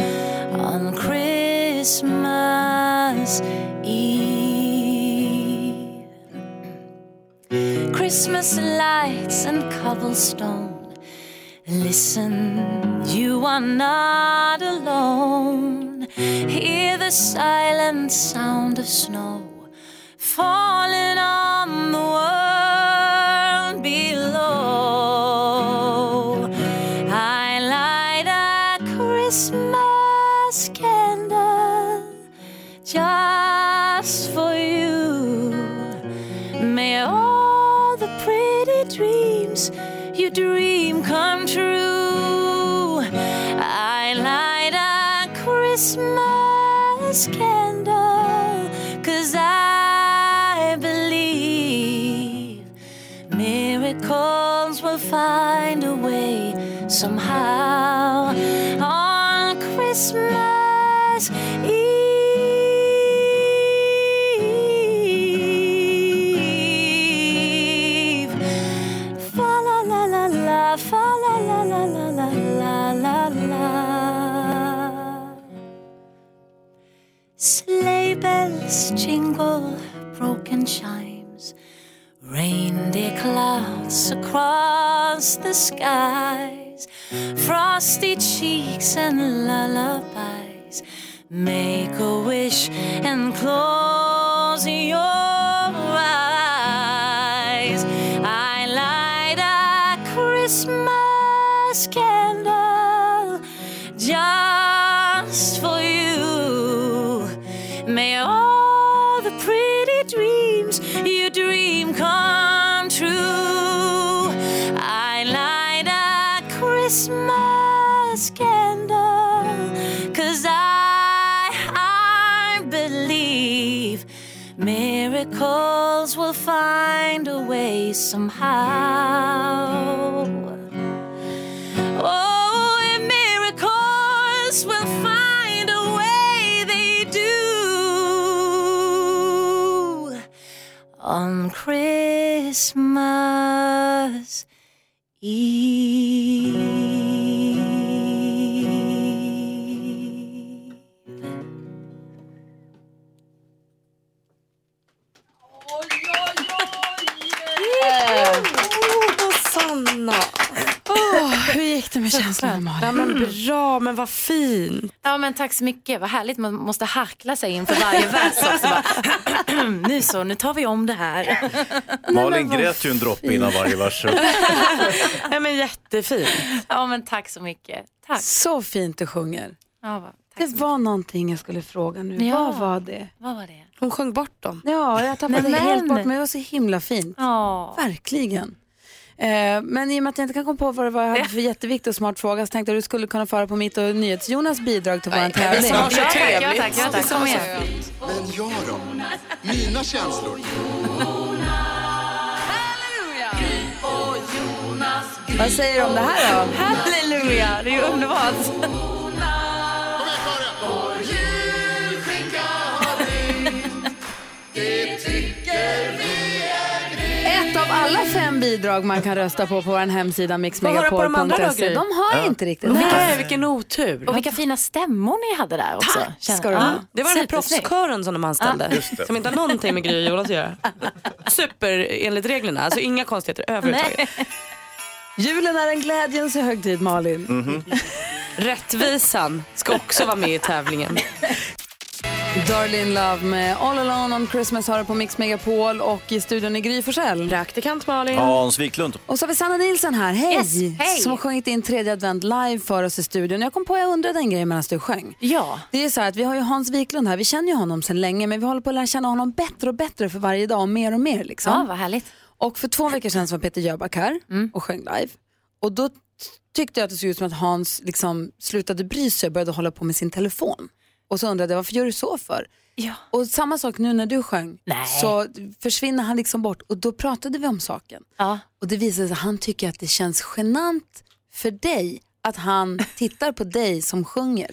S22: on Christmas Eve. Christmas lights and cobblestone. Listen, you are not alone. Hear the silent sound of snow falling on the world below. I light a Christmas candle just for you. May all the pretty dreams you dream come true. Christmas candle, cause I believe miracles will find a way somehow on Christmas Eve. Fa la la la la, fa la la la la la la la la. Sleigh bells jingle, broken chimes, reindeer clouds across the skies, frosty cheeks and lullabies. Make a wish and close your eyes. I light a Christmas candle just for you. May all the pretty dreams you dream come true. I light a Christmas candle, cause I, I believe miracles will find a way somehow. Oh, and miracles will find a way they do on Christmas Eve.
S2: Sanna. hur gick det med känslan Malin? Ja, men bra, men vad fint.
S25: Ja men tack så mycket, vad härligt man måste harkla sig inför varje vers också. Bara, nu så, nu tar vi om det här.
S3: Malin grät ju en droppe innan varje vers.
S25: Nej men jättefint. Ja men tack så mycket. Tack.
S1: Så fint du sjunger.
S25: Ja, vad,
S1: Det var någonting jag skulle fråga nu.
S25: Ja.
S1: Vad var det?
S25: vad var det?
S2: Hon sjöng bort dem.
S1: Ja, jag tappade
S25: Nej,
S1: det helt
S25: men.
S1: bort, men det var så himla fint. Verkligen. Eh, men i och med att jag inte kan komma på vad det var jag hade för jätteviktig och smart fråga så tänkte jag att du skulle kunna föra på mitt och NyhetsJonas bidrag till vår
S2: men
S1: tävling.
S2: som har så Ja, tack, ja, trevligt.
S25: tack, ja, tack. Kom igen.
S23: Men jag då? Mina känslor?
S1: Vad säger du om det här då?
S25: Halleluja, det är ju underbart.
S1: Ett av alla fem bidrag man kan rösta på på vår hemsida
S25: Vad har du på de andra då,
S1: mixmegapol.se.
S25: Gry?
S1: De har
S25: Ja.
S1: inte riktigt
S25: Och vilka-
S1: Nej.
S2: Vilken otur.
S25: Och vilka fina stämmor ni hade där också.
S2: Tack
S25: Känner-
S2: ska du
S25: Ja,
S2: ha. Det var den här
S25: supersnyggt.
S2: proffskören som de anställde.
S25: Ja, Ah. just det.
S2: Som inte har någonting med Gry och Jonas att
S25: (laughs)
S2: göra. Super enligt reglerna, alltså inga konstigheter överhuvudtaget.
S1: Julen är en glädjens högtid, Malin.
S2: Rättvisan ska också vara med i tävlingen.
S1: Darlene Love med All Alone on Christmas har du på Mix Megapol och i studion är Gry Forssell.
S2: Praktikant Malin.
S3: Hans Wiklund.
S1: Och så har vi Sanna Nilsson här, hej!
S25: Yes, hej.
S1: Som har sjungit in tredje advent live för oss i studion. Jag kom på, jag undrade en grej medan du sjöng.
S25: Ja.
S1: Det är så här att vi har ju Hans Wiklund här, vi känner ju honom sedan länge men vi håller på att lära känna honom bättre och bättre för varje dag och mer och mer liksom.
S25: Ja, vad härligt.
S1: Och för två veckor sedan så var Peter Jöback här
S25: Mm.
S1: och sjöng live. Och då t- tyckte jag att det såg ut som att Hans liksom slutade bry sig och började hålla på med sin telefon. Och så undrade jag varför gör du så för?
S25: Ja.
S1: Och samma sak nu när du sjöng så försvinner han liksom bort och då pratade vi om saken. Och det visade sig att han tycker att det känns genant för dig att
S25: (laughs)
S1: han tittar på dig som sjunger.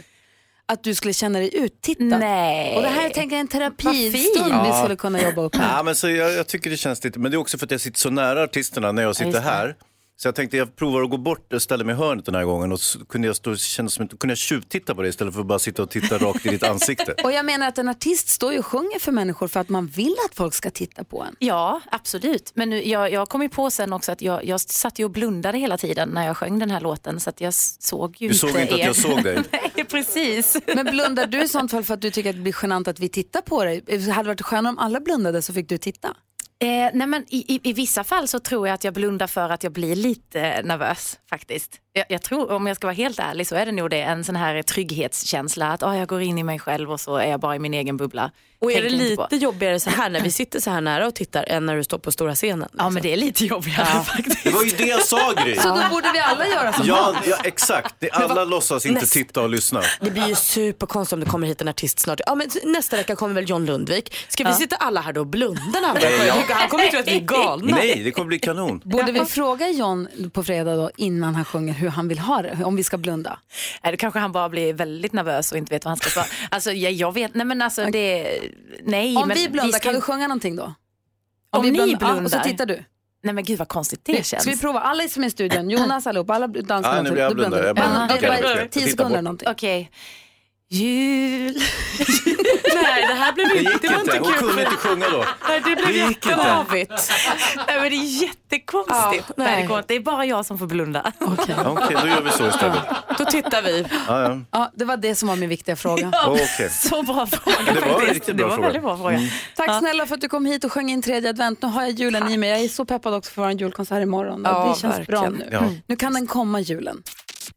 S1: Att du skulle känna dig uttittad.
S25: Nej.
S1: Och det här tänker jag är en terapistund
S3: Ja.
S1: vi skulle kunna jobba upp med.
S3: Ja, men så jag, jag tycker det känns lite, men det är också för att jag sitter så nära artisterna när jag sitter
S1: just det.
S3: här. Så jag tänkte jag provar att gå bort och ställa mig i hörnet den här gången och så kunde jag, stå, kändes som, att- kunde jag tjuvtitta på dig istället för att bara sitta och titta rakt i ditt ansikte.
S1: Och jag menar att en artist står ju och sjunger för människor för att man vill att folk ska titta på en.
S25: Ja, absolut. Men nu, jag, jag kom ju på sen också att jag, jag satt ju och blundade hela tiden när jag sjöng den här låten så att jag s- såg ju
S3: Du såg inte att
S25: er.
S3: jag såg dig.
S25: Nej, precis.
S1: Men blundar du i sånt fall för att du tycker att det blir genant att vi tittar på dig? Det hade varit skönare om alla blundade så fick du titta.
S25: Eh, nej men i, i, I vissa fall så tror jag att jag blundar för att jag blir lite nervös faktiskt. Jag, jag tror, om jag ska vara helt ärlig, så är det nog det. En sån här trygghetskänsla att ah jag går in i mig själv och så är jag bara i min egen bubbla.
S12: Och är
S25: Tänker
S12: det
S25: inte på-
S12: lite jobbigare så här när vi sitter så här nära och tittar än när du står på stora scenen? liksom?
S25: Ja men det är lite jobbigare faktiskt.
S3: Det var ju det jag sa Gry.
S12: Så då
S1: borde vi alla göra
S12: som
S3: ja,
S12: Hans.
S3: ja, exakt. Det- Alla låtsas inte
S12: Näst-
S3: titta och lyssna.
S12: Det blir ju superkonstigt om det kommer hit en artist snart. Ja, men nästa vecka kommer väl John Lundvik. Ska vi
S1: Ja.
S12: sitta alla här då och blunda när han
S3: Nej,
S12: kommer?
S3: ja.
S12: Han kommer ju tro att vi är galna.
S3: Nej, det kommer bli kanon.
S7: Borde vi fråga John på fredag då innan han sjunger hur han vill ha det, om vi ska blunda?
S25: Nej, då kanske han bara blir väldigt nervös och inte vet vad han
S12: (laughs)
S25: ska svara. Alltså jag, jag vet, nej men alltså det, nej.
S7: Om
S25: men
S7: vi blundar,
S25: ska
S7: kan
S25: ju-
S7: du sjunga någonting då?
S25: Om,
S7: vi
S25: ni
S7: blundar,
S25: blundar.
S7: ja, och så tittar du.
S25: Nej men gud vad konstigt det känns.
S7: Ska vi prova? Alla som är i
S25: (clears throat)
S7: studion, Jonas allihopa, alla dansar.
S25: Ja,
S3: nu blir jag blundad. Jag blundar. Okej, okej.
S7: Tio
S3: Jag tittar
S7: sekunder
S3: bort.
S7: någonting.
S25: Okej. Jul.
S12: (laughs) Nej, det här blev
S3: Det
S12: inte,
S3: gick
S12: det var
S3: inte.
S12: inte
S3: Hon
S12: kul.
S3: kunde inte sjunga då.
S25: Nej, det
S3: Det
S25: blev
S3: gick inte.
S25: jättekavigt. (laughs) Nej, men det är jättekonstigt.
S12: Ja,
S25: nej.
S12: nej.
S25: Det, går, inte. det är bara jag som får blunda.
S7: Okej,
S3: Ja, Okej, då gör vi så istället.
S12: Då tittar vi.
S3: Ja, ja.
S7: Ja, det var det som var min viktiga fråga.
S3: Ja,
S25: (laughs)
S3: Okej.
S25: Så bra
S3: Ja,
S25: fråga
S3: Det var en
S25: faktiskt.
S3: riktigt
S25: det
S3: bra
S25: var en
S3: fråga.
S25: väldigt bra fråga.
S3: Mm.
S7: Tack snälla för att du kom hit och sjöng in tredje advent. Nu har jag julen i mig. Jag är så peppad också för vår julkonsert imorgon.
S1: Ja,
S7: det känns bra
S1: verkligen.
S7: nu.
S1: Ja.
S7: Mm. Nu kan den komma, julen.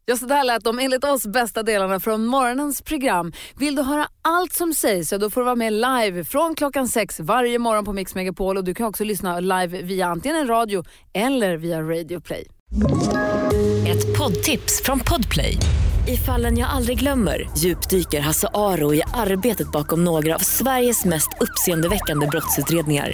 S1: Ja, så där lät de enligt oss bästa delarna från morgonens program. Vill du höra allt som sägs så då får du vara med live från klockan sex varje morgon på Mix Megapol och du kan också lyssna live via antingen en radio eller via Radio Play.
S3: Mm.
S15: Ett poddtips från Podplay. I fallen jag aldrig glömmer djupdyker Hasse Aro i arbetet bakom några av Sveriges mest uppseendeväckande brottsutredningar.